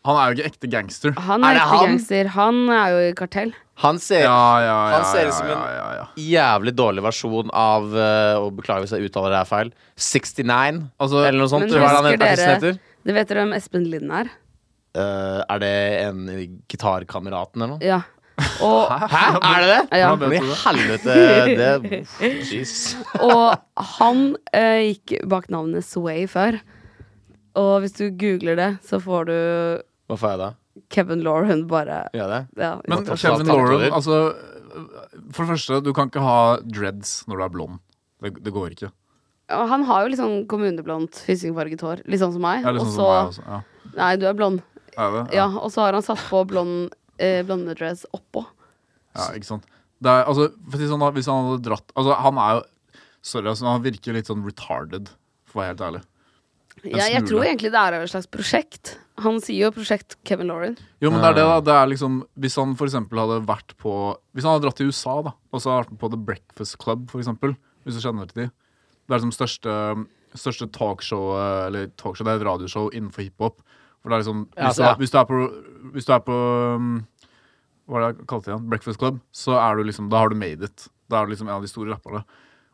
Speaker 2: Ah, Han er jo ikke ekte gangster.
Speaker 5: Han
Speaker 4: Er
Speaker 5: er,
Speaker 4: det
Speaker 5: ekte
Speaker 4: han?
Speaker 5: gangster. Han er jo i kartell.
Speaker 4: Han ser
Speaker 2: Ja, ja, ja.
Speaker 4: Han ser
Speaker 2: ja,
Speaker 4: ut som en-
Speaker 2: ja, ja, ja.
Speaker 4: jævlig dårlig versjon av eh, Og beklager hvis jeg uttaler det her feil. 69,
Speaker 2: Altså,
Speaker 4: eller noe sånt. Hva er
Speaker 5: Men
Speaker 4: det
Speaker 5: husker
Speaker 4: han artisten
Speaker 5: dere-
Speaker 4: heter?
Speaker 5: Det vet dere hvem Espen Lind
Speaker 2: (laughs)
Speaker 5: er?
Speaker 4: Eh, er det en gitarkameraten eller noe?
Speaker 5: Ja. Og,
Speaker 4: Hæ, er det det?
Speaker 5: Ja.
Speaker 4: Men i helvete, det
Speaker 5: (laughs)
Speaker 4: Jeez.
Speaker 5: og han eh, gikk bak navnet Sway før. Og hvis du googler det, så får du
Speaker 4: Hva får jeg da?
Speaker 5: Kevin Lauren bare
Speaker 4: Gjør jeg det?
Speaker 5: ja.
Speaker 2: Men
Speaker 4: Natasha
Speaker 2: Kevin
Speaker 4: Tattler.
Speaker 2: Lauren, altså For det første, du kan ikke ha dreads når du er blond. Det, det går ikke.
Speaker 5: Og Han har jo litt sånn kommuneblondt, hyssingfarget hår. Litt sånn som meg.
Speaker 2: Det er litt sånn
Speaker 5: Og
Speaker 2: som
Speaker 5: så
Speaker 2: meg også. Ja.
Speaker 5: Nei, du er blond.
Speaker 2: Er det?
Speaker 5: Ja, og så har han satt på blond eh, blondedress oppå.
Speaker 2: Ja, ikke sant det er, altså, for å si sånn, da, Hvis han hadde dratt Altså, han er jo Sorry, altså, han virker litt sånn retarded, for å være helt ærlig.
Speaker 5: Jeg, jeg
Speaker 2: smule.
Speaker 5: tror egentlig det er et slags prosjekt. Han sier jo 'prosjekt Kevin Lauren'.
Speaker 2: Jo, men det er det, da. Det er liksom Hvis han for eksempel hadde vært på Hvis han hadde dratt til USA, da, og så hadde vært med på The Breakfast Club, for eksempel, hvis du kjenner til de Det er liksom største, største talkshowet Eller talkshow, det er et radioshow innenfor hiphop. For det er liksom
Speaker 4: Ja,
Speaker 2: Hvis,
Speaker 4: så- ja.
Speaker 2: du, er- hvis du er på Hvis du er på um, Hva er det jeg kalte det igjen? Breakfast Club. Så er du liksom Da har du made it. Da er du liksom en av de store rapperne.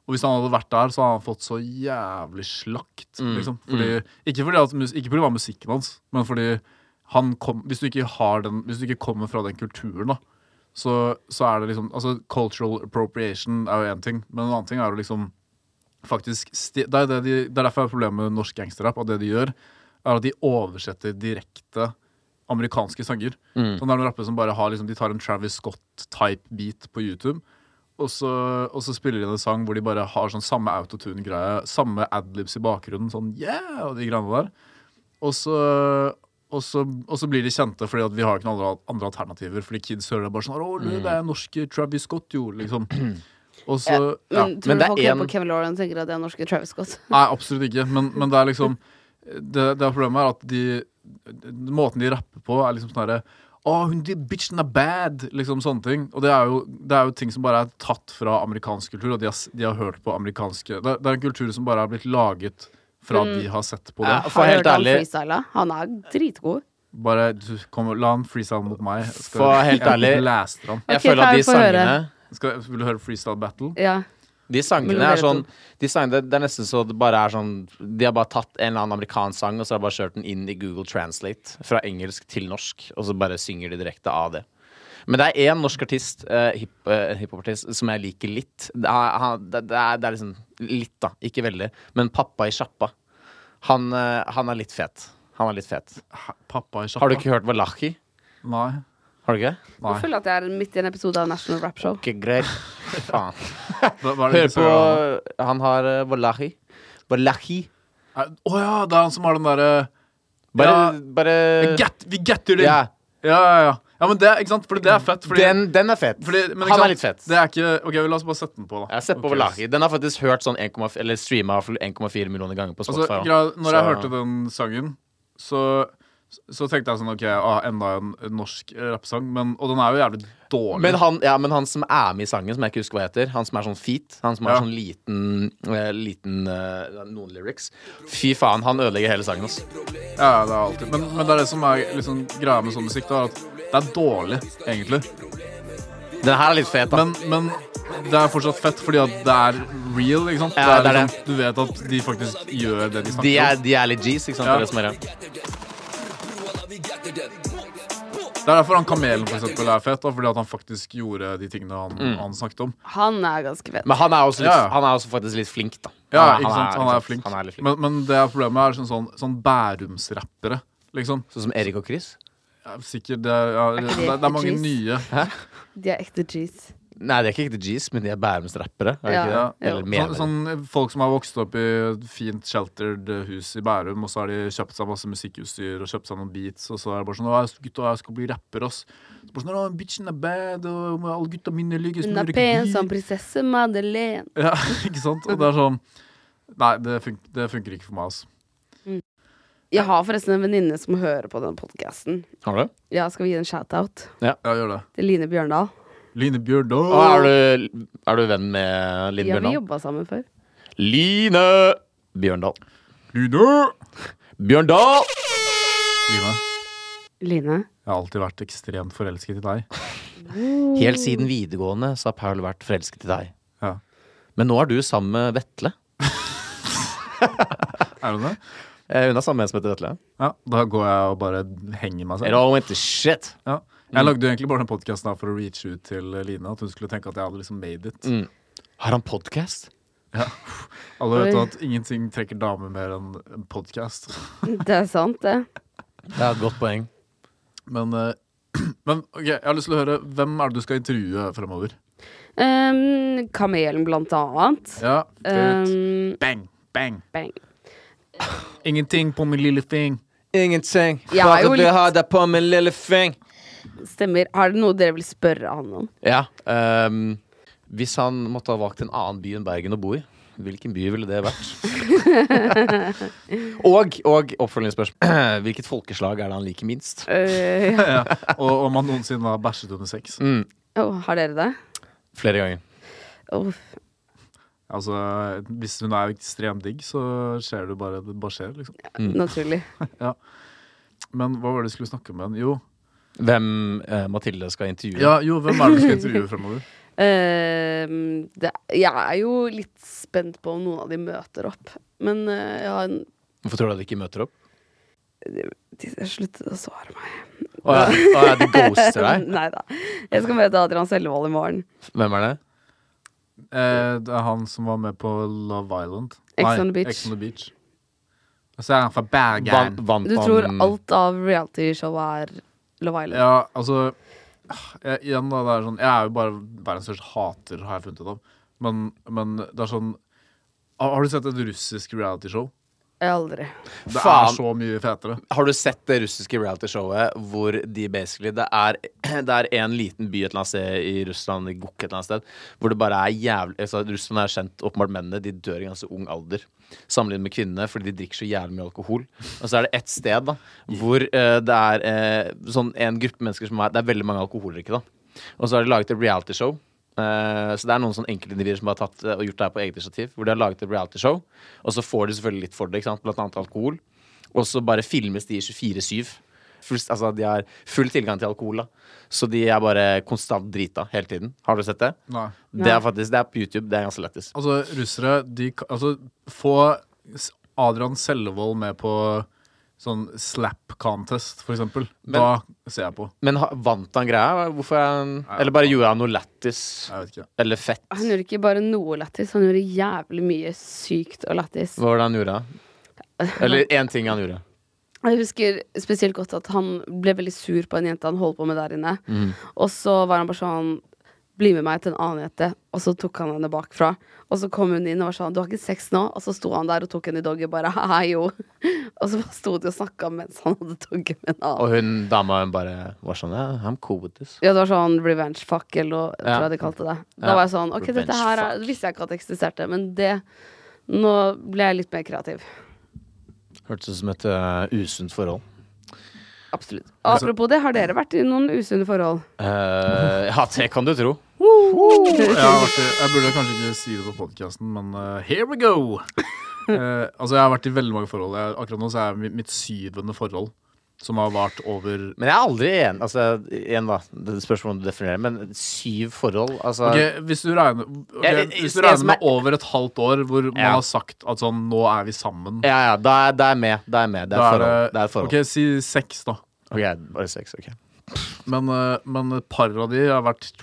Speaker 2: Og hvis han hadde vært der, så hadde han fått så jævlig slakt. Liksom. Fordi, ikke, fordi at, mus- ikke fordi det var musikken hans, men fordi han kom, hvis, du ikke har den, hvis du ikke kommer fra den kulturen, da, så, så er det liksom altså, Cultural appropriation er jo én ting, men en annen ting er jo liksom faktisk sti, det, er det, de, det er derfor jeg har problemer med norsk gangsterrap. At det de gjør, er at de oversetter direkte amerikanske sanger. Sånn er det noen rappere som bare har liksom, De tar en Travis Scott-type beat på YouTube, og så, og så spiller de inn en sang hvor de bare har sånn samme autotune-greie, samme adlibs i bakgrunnen, sånn yeah! og de greiene der. Og så, og, så, og så blir de kjente fordi at vi har ikke noen andre, andre alternativer. Fordi kids hører det bare sånn Å, Lu, det er norske Travis Scott, jo, liksom. Og så ja.
Speaker 5: Men
Speaker 4: men det
Speaker 5: tror du
Speaker 4: er
Speaker 5: folk hører
Speaker 4: en-
Speaker 5: på Kevin Lauren og tenker at det er norske Travis Scott?
Speaker 2: Nei, absolutt ikke. Men, men det er liksom det, det er problemet er at de Måten de rapper på, er liksom sånn herre Å, hun de bitchen er bad! Liksom sånne ting. Og det er, jo, det er jo ting som bare er tatt fra amerikansk kultur, og de har, s- de har hørt på amerikanske det, det er en kultur som bare er blitt laget fra de har sett på det.
Speaker 4: Mm. Ja, for
Speaker 5: Har du
Speaker 4: helt
Speaker 5: hørt han
Speaker 4: ærlig,
Speaker 5: freestyla? Han er dritgod.
Speaker 2: Bare du, kom, la han freestyle mot meg. Jeg Skal,
Speaker 4: For helt ærlig-
Speaker 2: Jeg blaster han.
Speaker 4: jeg
Speaker 5: Ok,
Speaker 4: føler at
Speaker 5: Kai,
Speaker 4: de
Speaker 5: få høre.
Speaker 4: sangene
Speaker 2: Skal, vil du høre freestyle battle?
Speaker 5: Ja.
Speaker 4: De
Speaker 5: Mellom
Speaker 4: sangene
Speaker 5: dere
Speaker 4: er sånn de sangene, Det er nesten så det bare er sånn De har bare tatt en eller annen amerikansk sang, og så har de bare kjørt den inn i Google Translate fra engelsk til norsk, og så bare synger de direkte av det. Men det er én norsk artist, uh, hiphopartist, som jeg liker litt. Det er, han, det, det, er, det er liksom litt, da. Ikke veldig. Men pappa i sjappa. Han, eh, han er litt fet. Han er litt fet.
Speaker 2: Hæ, Pappa i sjappa?
Speaker 4: Har du ikke hørt Wallahi?
Speaker 2: Nei.
Speaker 4: Har du ikke?
Speaker 5: Jeg føler at jeg er midt i en episode av National Rap Show.
Speaker 4: Ikke greit. Faen.
Speaker 2: Hva, hva er det
Speaker 4: Hør
Speaker 2: du
Speaker 4: på
Speaker 2: sier da?
Speaker 4: Han har eh, Wallahi. Wallahi.
Speaker 2: Er- Å ja, det er han som har den derre
Speaker 4: Bare,
Speaker 2: Ja.
Speaker 4: bare
Speaker 2: Get, vi getter det!
Speaker 4: Eh, Ja.
Speaker 2: Ja, ja, ja. ja men det, ikke sant? Fordi det er fett. Fordi,
Speaker 4: den, den er fet.
Speaker 2: fordi, men, ikke
Speaker 4: han
Speaker 2: sant?
Speaker 4: er litt fet.
Speaker 2: Det er ikke, ok, La oss bare sette den på, da.
Speaker 4: Jeg har sett på
Speaker 2: Ok.
Speaker 4: Wallahi. Den har faktisk hørt sånn 1,4 Eller streama 1,4 millioner ganger på
Speaker 2: Altså,
Speaker 4: Spotify.
Speaker 2: greia- når jeg
Speaker 4: Så-
Speaker 2: hørte den sangen, så, Så tenkte jeg sånn OK, ah, enda en norsk rappsang. Men, og den er jo jævlig dårlig.
Speaker 4: Men han, ja, men han som er med i sangen, som jeg ikke husker hva heter, han som er sånn feet, han som har
Speaker 2: Ja.
Speaker 4: sånn liten, eh, liten eh, noen lyrics Fy faen, han ødelegger hele sangen, altså.
Speaker 2: ja, ja, det er alltid. Men, men det er det som er liksom, greia med sånn musikk, da, er at det er dårlig, egentlig.
Speaker 4: Den her er litt fet, da.
Speaker 2: Men, men det er fortsatt fett, fordi at det er real. ikke sant?
Speaker 4: Ja, det er
Speaker 2: liksom, Du vet at de faktisk gjør det de
Speaker 4: de,
Speaker 2: snakker
Speaker 4: er,
Speaker 2: om.
Speaker 4: de er litt G's, ikke sant?
Speaker 2: Ja.
Speaker 4: Det er det som er greia.
Speaker 2: Det er derfor han Kamelen for eksempel, er fet, da, fordi at han faktisk gjorde de tingene han,
Speaker 4: Mm.
Speaker 2: han snakket om.
Speaker 5: Han er ganske fet.
Speaker 4: Men han er, også litt,
Speaker 2: Ja.
Speaker 4: han er også faktisk litt flink, da.
Speaker 2: Ja,
Speaker 4: er-
Speaker 2: ikke sant? Han
Speaker 4: ikke
Speaker 2: er
Speaker 4: sant?
Speaker 2: flink.
Speaker 4: Han er litt flink.
Speaker 2: Men, men det er problemet er sånn, sånn, sånn Bærumsrappere. Liksom.
Speaker 4: Sånn som Erik og Chris.
Speaker 2: Ja, Sikkert, det, er- ja, det, det, er mange
Speaker 5: Jeez.
Speaker 2: nye.
Speaker 5: De er ekte G's.
Speaker 4: Nei, det er ikke ekte G's, men de er Bærums rappere. er det
Speaker 5: Ja.
Speaker 4: ikke
Speaker 2: Ja.
Speaker 4: det? Eller mener
Speaker 2: Sånn, sånn folk som har vokst opp i et fint sheltered hus i Bærum, og så har de kjøpt seg masse musikkutstyr og kjøpt seg noen beats, og så er det bare sånn 'Å, jeg- gutta, jeg skal bli rapper, ass'. Så bare sånn, «Å, bitchen er bad, og alle gutta mine lykkes
Speaker 5: Hun
Speaker 2: med å
Speaker 5: er
Speaker 2: røyke
Speaker 5: pen
Speaker 2: weed».
Speaker 5: som prinsesse Madeleine.
Speaker 2: Ja, (laughs) ikke sant? Og det er sånn Nei, det, fun det funker ikke for meg, altså. ass.
Speaker 5: Jeg har forresten en venninne som hører på denne podkasten.
Speaker 4: Har du?
Speaker 5: Ja, skal vi gi en shout-out
Speaker 2: Ja, gjør det.
Speaker 5: til Line Bjørndal?
Speaker 2: Line Bjørdal.
Speaker 4: Og er du, er du venn med Line
Speaker 5: Ja, vi
Speaker 4: Bjørndal?
Speaker 5: jobba sammen før.
Speaker 4: Line Bjørndal.
Speaker 2: Line!
Speaker 4: Bjørndal!
Speaker 2: Line,
Speaker 5: Line.
Speaker 2: jeg har alltid vært ekstremt forelsket i deg.
Speaker 4: Helt siden videregående så har Paul vært forelsket i deg.
Speaker 2: Ja.
Speaker 4: Men nå er du sammen med Vetle.
Speaker 2: Er du det?
Speaker 4: Eh, hun er sammen med en som heter Vetle.
Speaker 2: Ja, da går jeg og bare henger meg
Speaker 4: It
Speaker 2: selv.
Speaker 4: all went to shit.
Speaker 2: Ja. Jeg lagde jo egentlig bare den podkasten for å reache ut til Line. At hun skulle tenke at jeg hadde liksom made it.
Speaker 4: Har han podkast?
Speaker 2: Alle vet
Speaker 5: Oi.
Speaker 2: at ingenting trekker damer mer enn en podkast.
Speaker 5: Det er sant, det.
Speaker 4: Det er et godt poeng.
Speaker 2: Men, eh, (clears throat) men ok, jeg har lyst til å høre hvem er det du skal intervjue fremover?
Speaker 5: Um, kamelen, blant annet.
Speaker 2: Ja, kult.
Speaker 5: Um,
Speaker 2: Bang, bang.
Speaker 5: bang.
Speaker 2: Ingenting på min lille fing.
Speaker 4: Ingenting.
Speaker 5: Jeg er Bare jo du litt- har
Speaker 4: deg på min lille fing.
Speaker 5: Stemmer. Har dere noe dere vil spørre han om?
Speaker 4: Ja. ehm, hvis han måtte ha valgt en annen by enn Bergen å bo i, hvilken by ville det vært?
Speaker 5: (laughs)
Speaker 4: og og oppfølgingsspørsmål. (clears throat) Hvilket folkeslag er det han liker minst?
Speaker 5: (laughs) Uh,
Speaker 2: Ja. Og om han noensinne har bæsjet under sex.
Speaker 5: oh, har dere det?
Speaker 4: Mm, Flere ganger.
Speaker 5: Uff.
Speaker 2: Altså, Hvis hun er ekstremt digg, så skjer det bare. Det bare skjer, liksom.
Speaker 5: Naturlig.
Speaker 2: Men hva var det du skulle snakke om igjen? Jo.
Speaker 4: Hvem eh, Mathilde skal intervjue?
Speaker 2: Ja, jo, hvem er det du skal intervjue fremover?
Speaker 5: Um, det, jeg er jo litt spent på om noen av de møter opp. Men uh, jeg har en
Speaker 4: Hvorfor tror du at de ikke møter opp?
Speaker 5: de sluttet å svare meg.
Speaker 4: Å ja, å ja, de ghoster deg?
Speaker 5: (laughs) Nei da. Jeg skal møte Adrian Selvold i morgen.
Speaker 4: Hvem er det?
Speaker 2: Eh, det er han som var med på Love Island.
Speaker 5: Ex
Speaker 2: Nei,
Speaker 5: on the Beach.
Speaker 2: Ex on the Beach. Og så er han fra Bergen.
Speaker 4: Van, van,
Speaker 5: Du tror
Speaker 4: van-
Speaker 5: alt av realityshowet er Love Island?
Speaker 2: Ja, altså jeg, Igjen, da. Det er sånn, jeg er jo bare verdens største hater, har jeg funnet ut av. Men, men det er sånn Har har du sett et russisk realityshow?
Speaker 5: Aldri.
Speaker 2: Det er
Speaker 4: Faen.
Speaker 2: så mye fetere.
Speaker 4: Har du sett det russiske realityshowet hvor de basically Det er, (clears throat) det er en liten by et eller annet sted i Russland, i Gok et eller annet sted, hvor det bare er jævlig altså, Russland er kjent, åpenbart mennene, de dør i ganske ung alder. Sammenlignet med kvinnene, fordi de drikker så jævlig mye alkohol. Og så er det ett sted da hvor eh, det er eh, sånn en gruppe mennesker som er Det er veldig mange alkoholikere, da. Og så har de laget et realityshow. Eh, så det er noen sånn enkeltindivider som har tatt eh, og gjort det her på eget initiativ. Hvor de har laget et realityshow, og så får de selvfølgelig litt for det, ikke sant? blant annet alkohol. Og så bare filmes de 24-7. Fullst- Altså, de har full tilgang til alkohol, da. Så de er bare konstant drita hele tiden. Har du sett det?
Speaker 2: Nei.
Speaker 4: Det er faktisk, det er på YouTube. Det er ganske lættis.
Speaker 2: Altså, russere de, ka- altså, Få S- Adrian Sellevold med på sånn slap contest, for eksempel.
Speaker 4: Men-
Speaker 2: da ser jeg på.
Speaker 4: Men ha, vant han greia? Hvorfor er han Eller bare gjorde han noe lættis?
Speaker 2: Jeg vet ikke.
Speaker 4: Eller fett?
Speaker 5: Han gjorde ikke bare noe lættis, han gjorde jævlig mye sykt og lættis.
Speaker 4: Hva var det han gjorde?
Speaker 5: (laughs)
Speaker 4: Eller én ting han gjorde.
Speaker 5: Jeg husker spesielt godt at han ble veldig sur på en jente han holdt på med der inne.
Speaker 4: Mm.
Speaker 5: Og så var han bare sånn Bli med meg til en annen jente. Og så tok han henne bakfra. Og så kom hun inn og var sånn Du har ikke sex nå? Og så sto han der og tok henne i doggy bare Haha, jo. (laughs) Og så bare sto de og snakka mens han hadde doggy med en annen.
Speaker 4: Og hun dama hun bare var sånn yeah, I'm cool with this.
Speaker 5: Ja, det var sånn revenge fuck eller noe, jeg
Speaker 4: Ja.
Speaker 5: tror jeg de kalte det.
Speaker 4: Ja.
Speaker 5: Da var jeg sånn Ok, dette
Speaker 4: Revenge
Speaker 5: her er,
Speaker 4: fuck.
Speaker 5: visste jeg ikke at det eksisterte, men det Nå ble jeg litt mer kreativ.
Speaker 4: Hørtes ut som et øh, usunt eh, forhold.
Speaker 5: Absolutt. Og apropos det, har dere vært i noen usunne forhold?
Speaker 4: Eh, ja, det kan du tro.
Speaker 2: Jeg, har vært i, jeg burde kanskje ikke si det på podkasten, men eh, here we
Speaker 4: (laughs)
Speaker 2: go! Eh, altså, jeg har vært i veldig mange forhold. Jeg, akkurat nå så er jeg mitt, mitt syvende forhold, som har vart over
Speaker 4: Men jeg er aldri enig. Altså, igjen, da. Det spørs hvordan du definerer det, men syv forhold, altså
Speaker 2: Ok, hvis du regner, ok,
Speaker 4: Jeg- jeg-
Speaker 2: hvis du
Speaker 4: jeg-
Speaker 2: regner
Speaker 4: som
Speaker 2: med
Speaker 4: er-
Speaker 2: over et halvt år hvor man
Speaker 4: Ja.
Speaker 2: har sagt at sånn, nå er vi sammen
Speaker 4: Ja, ja, da er da er jeg med. Da er jeg med. Det er, forhold. Det er et forhold.
Speaker 2: Ok, si seks, da.
Speaker 4: Ok, bare seks. Ok.
Speaker 2: Men, eh, men et par av de har vært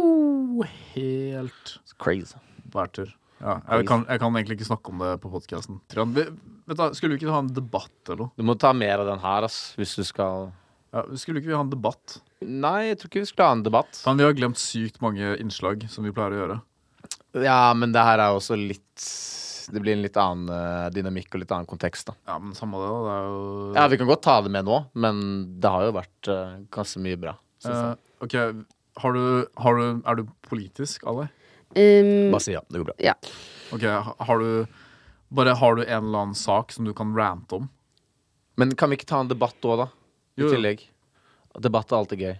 Speaker 2: wow, helt
Speaker 4: Crazy.
Speaker 2: bærtur. Ja, jeg, kan, jeg kan egentlig ikke snakke om det på podkasten. Skulle vi ikke ha en debatt eller noe?
Speaker 4: Du må ta mer av den her, ass, hvis du skal
Speaker 2: Ja, skulle ikke vi ha en debatt?
Speaker 4: Nei, jeg tror ikke vi skulle ha en debatt.
Speaker 2: Faen, vi har glemt sykt mange innslag som vi pleier å gjøre.
Speaker 4: Ja, men det her er også litt Det blir en litt annen eh, dynamikk og litt annen kontekst, da.
Speaker 2: Ja, men samme det, da. Det er jo
Speaker 4: Ja, vi kan godt ta det med nå, men det har jo vært eh, ganske mye bra. synes jeg.
Speaker 2: Eh, OK, har du, har du, er du politisk, Ali?
Speaker 5: Um,
Speaker 4: Bare si ja. Det går bra.
Speaker 5: ja.
Speaker 2: Ok, ha- har du Bare har du en eller annen sak som du kan rante om?
Speaker 4: Men kan vi ikke ta en debatt òg, da? I
Speaker 2: Jo, jo.
Speaker 4: tillegg. Debatt er alltid gøy.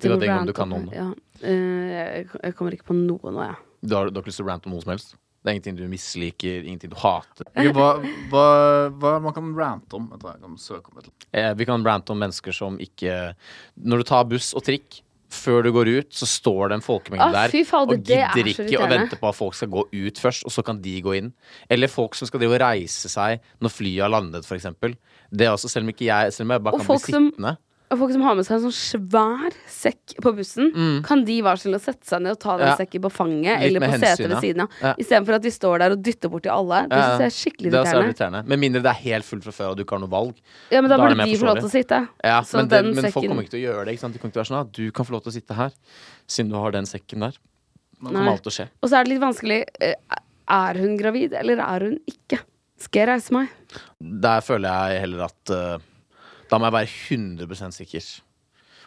Speaker 4: vil ha ting om du kan noe om det.
Speaker 5: Ja. Eh, jeg- jeg kommer ikke på noe nå, jeg.
Speaker 4: Du har, du har ikke lyst til å rante om noe som helst? Det er ingenting du misliker, ingenting du hater. (laughs)
Speaker 2: Ok, hva, hva, hva man kan rante om? Vent, da, jeg kan søke om et eller annet.
Speaker 4: Eh, vi kan rante om mennesker som ikke Når du tar buss og trikk før du går ut, så står det en folkemengde
Speaker 5: Ah,
Speaker 4: der
Speaker 5: fy fader,
Speaker 4: og
Speaker 5: det er så
Speaker 4: gidder ikke å
Speaker 5: irriterende.
Speaker 4: vente på at folk skal gå ut først, og så kan de gå inn. Eller folk som skal drive og reise seg når flyet har landet, f.eks. Det er også, selv om ikke jeg Selv om jeg bare Og
Speaker 5: Og
Speaker 4: kan
Speaker 5: folk
Speaker 4: bli
Speaker 5: som-
Speaker 4: sittende.
Speaker 5: Og folk som har med seg en sånn svær sekk på bussen, kan de være snille å sette seg ned og ta den
Speaker 4: Mm. Ja.
Speaker 5: sekken på fanget
Speaker 4: Litt
Speaker 5: eller
Speaker 4: med
Speaker 5: på setet
Speaker 4: hensyn,
Speaker 5: ved
Speaker 4: ja.
Speaker 5: siden av.
Speaker 4: Ja.
Speaker 5: Istedenfor at de står der og dytter borti alle. Det
Speaker 4: Ja,
Speaker 5: synes jeg er skikkelig
Speaker 4: det er også
Speaker 5: irriterende.
Speaker 4: irriterende. Med mindre det er helt fullt fra før og du ikke har noe valg.
Speaker 5: Ja, men da
Speaker 4: Da er det
Speaker 5: burde
Speaker 4: mer
Speaker 5: de få lov til å sitte.
Speaker 4: Ja,
Speaker 5: Så
Speaker 4: men, det,
Speaker 5: den
Speaker 4: men folk
Speaker 5: sekken-
Speaker 4: kommer ikke til å gjøre det. Ikke sant? De kommer ikke til å være sånn at du kan få lov til å sitte her, siden du har den sekken der. Det
Speaker 5: Nei.
Speaker 4: kommer alt til å skje.
Speaker 5: Og så er det litt vanskelig. eh, Er hun gravid, eller er hun ikke? Skal jeg reise meg? (laughs)
Speaker 4: Der føler jeg heller at eh, Da må jeg være 100 sikker.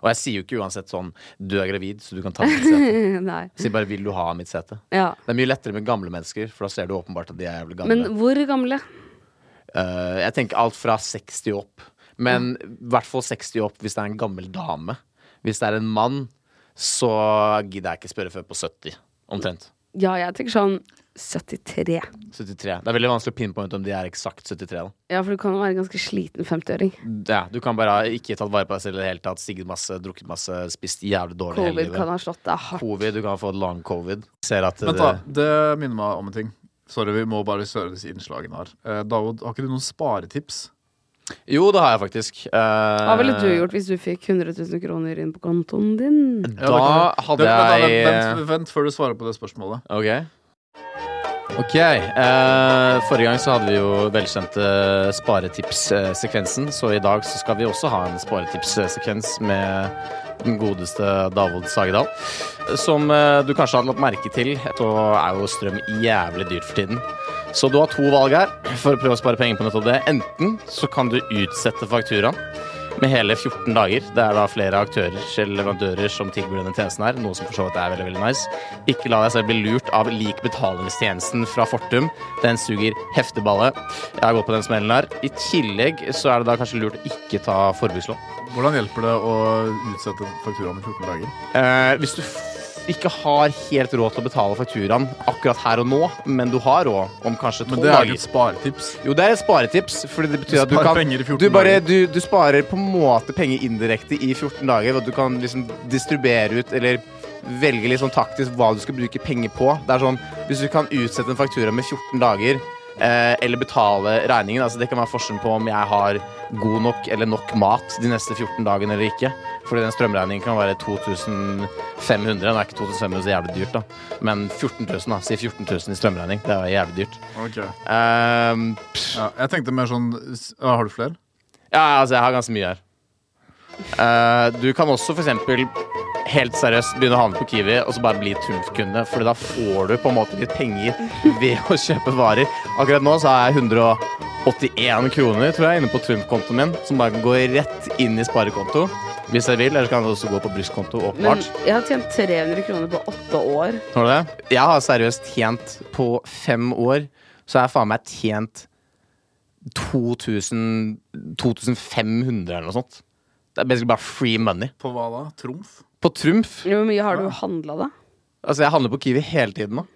Speaker 4: Og jeg sier jo ikke uansett sånn Du er gravid, så du kan ta mitt
Speaker 5: (laughs)
Speaker 4: sete.
Speaker 5: Nei.
Speaker 4: Jeg sier bare 'vil du ha mitt sete'?
Speaker 5: Ja.
Speaker 4: Det er mye lettere med gamle mennesker, for da ser du åpenbart at de er jævlig gamle.
Speaker 5: Men hvor gamle?
Speaker 4: Eh, jeg tenker alt fra 60 opp. Men i hvert fall 60 opp hvis det er en gammel dame. Hvis det er en mann, så gidder jeg ikke spørre før på 70. Omtrent.
Speaker 5: Ja, jeg tenker sånn 73.
Speaker 4: 73. Det er veldig vanskelig å pinpointe om de er eksakt 73. da.
Speaker 5: Ja, for du kan være en ganske sliten 50-åring.
Speaker 4: Ja, du kan bare ha ikke tatt vare på deg selv i det hele tatt. Sigget masse, drukket masse, spist jævlig dårlig hele
Speaker 5: Covid kan
Speaker 4: livet.
Speaker 5: ha slått deg hardt.
Speaker 4: Covid, du kan få et long covid. Ser at
Speaker 2: Vent, da. Det minner meg om en ting. Sorry, vi må bare kjøre disse innslagene her. Eh, David, har ikke du noen sparetips?
Speaker 4: Jo, det har jeg faktisk. Eh,
Speaker 5: Hva ville du gjort hvis du fikk 100 000 kroner inn på kontoen din?
Speaker 2: Ja, det kan
Speaker 4: Da
Speaker 2: du-
Speaker 4: hadde
Speaker 2: det- vent, da,
Speaker 4: jeg
Speaker 2: Vent, vent, vent før du svarer på det spørsmålet.
Speaker 4: Ok. Ok, eh, Forrige gang så hadde vi jo velkjente sparetipssekvensen, så i dag så skal vi også ha en sparetipssekvens med den godeste Davold Sagedal. Som eh, du kanskje har lagt merke til, så er jo strøm jævlig dyrt for tiden. Så du har to valg her for å prøve å spare penger på nettopp det. Enten så kan du utsette fakturaen med hele 14 dager. Det er da flere aktører eller leverandører som tilbyr denne tjenesten her, noe som for så vidt er veldig, veldig nice. Ikke la deg selv bli lurt av lik betalingstjenesten fra Fortum. Den suger hefteballe. Jeg har gått på den smellen her. I tillegg så er det da kanskje lurt å ikke ta forbrukslån.
Speaker 2: Hvordan hjelper det å utsette fakturaen i 14 dager?
Speaker 4: Eh, hvis du f- ikke har helt råd til å betale fakturaen akkurat her og nå, men du har råd om kanskje
Speaker 2: Men
Speaker 4: tolv
Speaker 2: det er ikke
Speaker 4: dager
Speaker 2: et sparetips.
Speaker 4: jo, det er et sparetips, fordi det betyr
Speaker 2: Du
Speaker 4: at du
Speaker 2: sparer
Speaker 4: kan
Speaker 2: penger i 14
Speaker 4: du, bare,
Speaker 2: dager.
Speaker 4: du, du sparer på en måte penger indirekte i 14 dager ved at du kan liksom distribuere ut eller velge litt sånn taktisk hva du skal bruke penger på. Det er sånn, Hvis du kan utsette en faktura med 14 dager eh, eller betale regningen altså Det kan være forskjellen på om jeg har god nok eller nok mat de neste 14 dagene eller ikke. Fordi den strømregningen kan være 2500. Den er ikke 2500 så jævlig dyrt, da. Men 14 000, da. Si 14 000 i strømregning. Det er jævlig dyrt.
Speaker 2: Ok.
Speaker 4: Ehm,
Speaker 2: Ja, jeg tenkte mer sånn s- ja, Har du flere?
Speaker 4: Ja, ja, altså, jeg har ganske mye her. Eh, du kan også for eksempel helt seriøst begynne å handle på Kiwi og så bare bli Tulf-kunde, for da får du på en måte litt penger ved å kjøpe varer. Akkurat nå så har jeg 181 kroner tror jeg, inne på Tulf-kontoen min, som bare går rett inn i sparekonto hvis jeg vil. Eller så kan det også gå på brystkonto,
Speaker 5: Men
Speaker 4: åpenbart.
Speaker 5: jeg har tjent 300 kroner på åtte år.
Speaker 4: Har du det? Jeg har seriøst tjent på fem år, så har jeg faen meg tjent 2000, 2500 eller noe sånt. Det er basically bare free money.
Speaker 2: På hva da? Trumf?
Speaker 4: På Trumf
Speaker 5: Hvor mye har du handla, da?
Speaker 4: Altså, jeg handler på Kiwi hele tiden nå.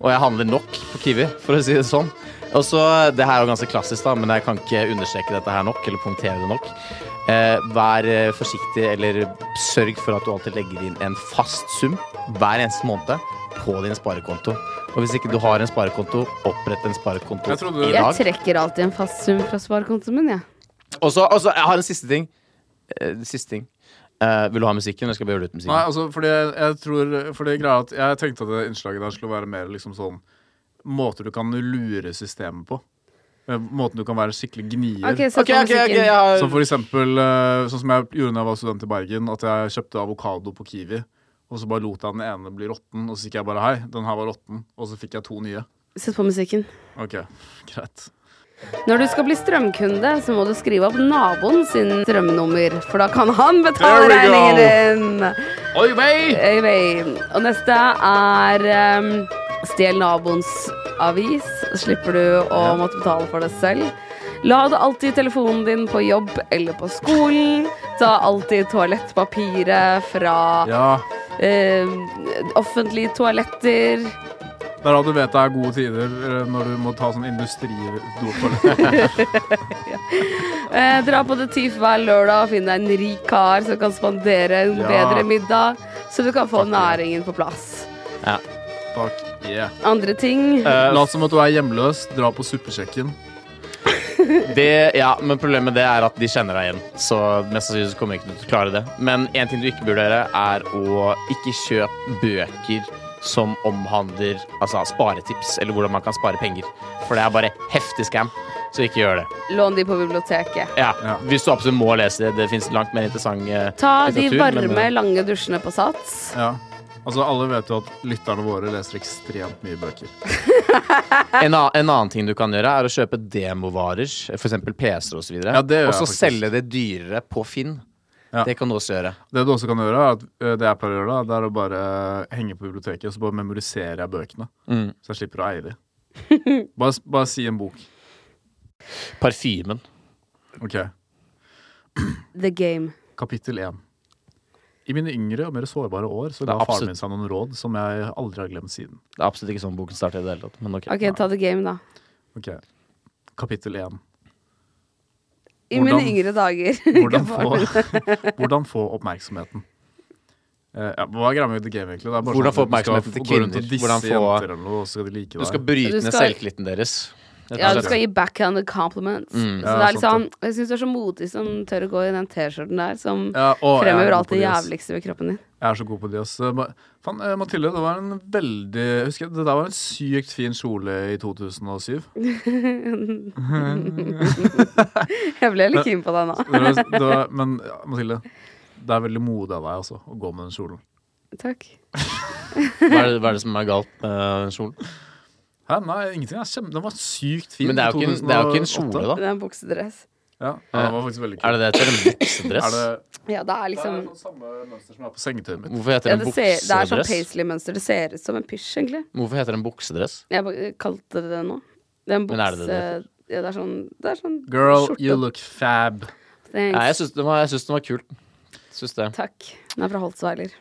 Speaker 4: Og jeg handler nok på Kiwi, for å si det sånn. Og så, Det her er jo ganske klassisk, da, men jeg kan ikke understreke dette her nok. Eller punktere det nok. Eh, vær eh, forsiktig, eller sørg for at du alltid legger inn en fast sum hver eneste måned på din sparekonto. Og hvis ikke du har en sparekonto, opprett en sparekonto
Speaker 2: Jeg trodde-
Speaker 4: i
Speaker 5: Jeg
Speaker 4: dag.
Speaker 5: trekker alltid en fast sum fra sparekontoen min, jeg.
Speaker 4: Og så, og så- jeg har en siste ting. Eh, siste ting. Eh, vil du ha musikken? Eller skal vi gjøre det uten musikken?
Speaker 2: Nei, altså, fordi jeg, jeg tror Fordi greia er at jeg tenkte at det innslaget der skulle være mer liksom sånn Måter du kan lure systemet på. Eh, Måten du kan være skikkelig gnier.
Speaker 5: Ok, sett
Speaker 4: Ok, ok,
Speaker 5: på
Speaker 4: ok,
Speaker 5: musikken.
Speaker 4: jeg har-
Speaker 2: Som for eksempel eh, Sånn som jeg gjorde da jeg var student i Bergen, at jeg kjøpte avokado på Kiwi. Og så bare lot jeg den ene bli råtten, og så gikk jeg bare hei, den her var råtten. Og så fikk jeg to nye.
Speaker 5: Sett på musikken.
Speaker 2: Ok, (laughs) greit.
Speaker 5: Når du skal bli strømkunde, så må du skrive opp naboen sin strømnummer, for da kan han
Speaker 2: There
Speaker 5: betale
Speaker 2: we go.
Speaker 5: regningen din.
Speaker 2: Oi, vei!
Speaker 5: Øy, vei. Og neste er um, stjel naboens avis. Så slipper du å måtte betale for det selv. La du alltid telefonen din på jobb eller på skolen. Ta alltid toalettpapiret fra
Speaker 2: Ja,
Speaker 5: eh, offentlige toaletter.
Speaker 2: det er da du vet det er gode tider eh, når du må ta sånn industridopåløp.
Speaker 5: Eh, dra på Detif hver lørdag og finn deg en rik kar som kan spandere en
Speaker 2: Ja.
Speaker 5: bedre middag, så du kan få
Speaker 2: Takk.
Speaker 5: næringen på plass.
Speaker 2: (laughs) Takk. Yeah.
Speaker 5: Andre ting
Speaker 4: Eh,
Speaker 2: Lat som at du er hjemløs, dra på suppesjekken.
Speaker 4: Det, ja, men problemet med det er at de kjenner deg igjen. Så mest sannsynlig så kommer ikke du til å klare det. Men en ting du ikke burde gjøre, er å ikke kjøpe bøker som omhandler altså sparetips, eller hvordan man kan spare penger. For det er bare heftig scam, så ikke gjør det.
Speaker 5: lån de på biblioteket.
Speaker 4: Ja,
Speaker 2: Ja.
Speaker 4: Hvis du absolutt må lese det. Det fins langt mer interessant eh,
Speaker 5: Ta de
Speaker 4: litteratur, men- eh,
Speaker 5: varme, lange dusjene på Sats.
Speaker 2: Ja. Altså, alle vet jo at lytterne våre leser ekstremt mye bøker.
Speaker 4: En, annen, en annen ting du kan gjøre, er å kjøpe demovarer, f.eks. PC-er osv.,
Speaker 2: Ja, det gjør
Speaker 4: og
Speaker 2: jeg
Speaker 4: så
Speaker 2: faktisk.
Speaker 4: selge det dyrere på Finn.
Speaker 2: Ja.
Speaker 4: Det kan du også gjøre.
Speaker 2: Det du også kan gjøre, er at ø, det jeg pleier å gjøre, da, det er å bare ø, henge på biblioteket og så bare memoriserer jeg bøkene.
Speaker 4: Mm.
Speaker 2: Så jeg slipper å eie
Speaker 5: (laughs)
Speaker 2: de. Bare, s- bare si en bok.
Speaker 4: Parfymen.
Speaker 2: Ok.
Speaker 5: The Game.
Speaker 2: Kapittel 1. I mine yngre og mer sårbare år så
Speaker 4: Det
Speaker 2: ga
Speaker 4: er absolutt-
Speaker 2: faren min seg noen råd som jeg aldri har glemt siden.
Speaker 4: Det er absolutt ikke sånn boken starter i det hele tatt. Men ok.
Speaker 5: Ok, ta The Game, da.
Speaker 2: Ok. Kapittel
Speaker 5: (laughs)
Speaker 2: 1.
Speaker 5: I
Speaker 2: Hvordan-
Speaker 5: mine yngre
Speaker 4: (laughs)
Speaker 5: dager.
Speaker 2: Hvordan få, (laughs) hvordan få oppmerksomheten. Eh, ja, hva er greia med The Game, egentlig? Det er bare
Speaker 4: Hvordan få
Speaker 2: sånn at du skal
Speaker 4: oppmerksomheten til
Speaker 2: gå rundt og
Speaker 4: kvinner?
Speaker 2: disse
Speaker 4: Hvordan få-
Speaker 2: jenter eller noe, og så skal de like
Speaker 4: Du
Speaker 2: deg.
Speaker 4: skal bryte
Speaker 5: Du
Speaker 4: ned
Speaker 5: skal-
Speaker 4: selvtilliten deres.
Speaker 5: Ja, du skal gi backhanded compliments.
Speaker 4: Mm,
Speaker 5: Så
Speaker 2: Ja,
Speaker 5: det
Speaker 4: sånn,
Speaker 5: er liksom,
Speaker 2: sant
Speaker 5: jeg syns du er så modig som tør å gå i den T-skjorten der, som
Speaker 2: Ja, å, jeg er
Speaker 5: fremhever
Speaker 2: god
Speaker 5: alt
Speaker 2: på
Speaker 5: det
Speaker 2: de, ass.
Speaker 5: jævligste ved kroppen din. (laughs)
Speaker 2: Jeg er så god på de, ass. Eh, Ma- Faen, eh, Mathilde, det var en veldig jeg Husker jeg, det der var en sykt fin kjole i 2007.
Speaker 5: Jeg ble litt keen på deg nå.
Speaker 2: Det var, det var, men ja, Mathilde, det er veldig modig av deg, altså, å gå med den kjolen.
Speaker 5: Takk.
Speaker 4: Hva er, det, hva er det som er galt med den kjolen?
Speaker 2: Hæ, nei, ingenting. Jeg kjem, den var sykt fin.
Speaker 4: Men det er,
Speaker 2: i
Speaker 4: jo ikke en, det er jo ikke en
Speaker 2: 2008.
Speaker 4: kjole, da.
Speaker 5: Det er en buksedress.
Speaker 2: Ja, ja, den var faktisk veldig kul.
Speaker 4: Er det det heter? En
Speaker 2: (laughs)
Speaker 4: buksedress?
Speaker 5: Ja, det er
Speaker 2: det
Speaker 5: liksom
Speaker 2: er sånn samme mønster som er på sengetøyet mitt.
Speaker 4: Hvorfor heter
Speaker 5: ja,
Speaker 4: det en
Speaker 5: det, ser, det er sånn
Speaker 4: buksedress?
Speaker 5: paisley-mønster. Det ser ut som en pysj, egentlig.
Speaker 4: Hvorfor heter det en buksedress?
Speaker 5: Jeg bare kalte det det nå. Det er en
Speaker 4: Men
Speaker 5: bukse...
Speaker 4: er det det det heter?
Speaker 5: ja, det er sånn, det er sånn
Speaker 2: Girl,
Speaker 5: skjorte.
Speaker 2: you look fab.
Speaker 5: Thanks.
Speaker 4: Nei, jeg syns den var, jeg synes den var kul. Syns det.
Speaker 5: Takk. Den er fra Holtzweiler.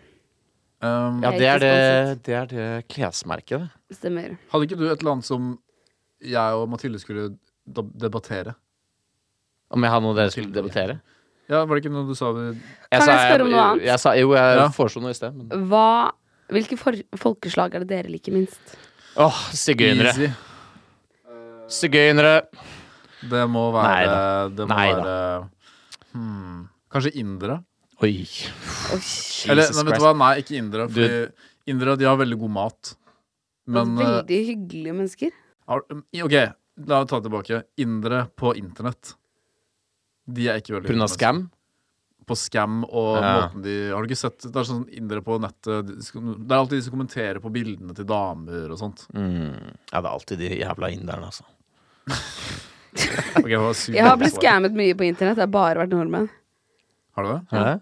Speaker 2: Um,
Speaker 4: Ja,
Speaker 5: Jeg er
Speaker 4: det
Speaker 5: ikke
Speaker 4: er det, det, er det klesmerket, det.
Speaker 5: Stemmer.
Speaker 2: Hadde ikke du et eller annet som jeg og Mathilde skulle da- debattere?
Speaker 4: Om jeg hadde noe dere skulle debattere?
Speaker 2: Ja, Var det ikke noe du sa? vi-
Speaker 5: Kan jeg spørre om noe
Speaker 4: jeg,
Speaker 5: annet?
Speaker 4: jeg sa, jo, jeg
Speaker 2: Ja.
Speaker 4: foreslo noe i sted. Men...
Speaker 5: Hva, hvilke for, folkeslag er det dere liker minst?
Speaker 4: Åh, sigøynere.
Speaker 2: Easy.
Speaker 4: Sigøynere.
Speaker 2: Det må være Det må
Speaker 4: Nei da.
Speaker 2: være hmm, Kanskje indere?
Speaker 4: Oi.
Speaker 2: Eller
Speaker 4: Jesus
Speaker 2: nei, vet du
Speaker 4: Christ.
Speaker 2: hva, nei, ikke indere. Fordi indere de har veldig god mat. Men eh,
Speaker 5: Veldig hyggelige mennesker.
Speaker 2: har, i- OK, la meg ta det tilbake. Indere på internett. De er ikke veldig
Speaker 4: På grunn av
Speaker 2: mennesker.
Speaker 4: scam?
Speaker 2: På scam og
Speaker 4: Ja.
Speaker 2: måten de Har du ikke sett Det er sånn indere på nettet de skal- Det er alltid de som kommenterer på bildene til damer og sånt.
Speaker 4: Mm. Ja, det er alltid de jævla inderne, altså.
Speaker 2: Ok, det var sykt
Speaker 5: Jeg har blitt
Speaker 2: dårlig svar.
Speaker 5: skammet mye på internett. Det har bare vært nordmenn.
Speaker 2: Har du det?
Speaker 4: Hæ?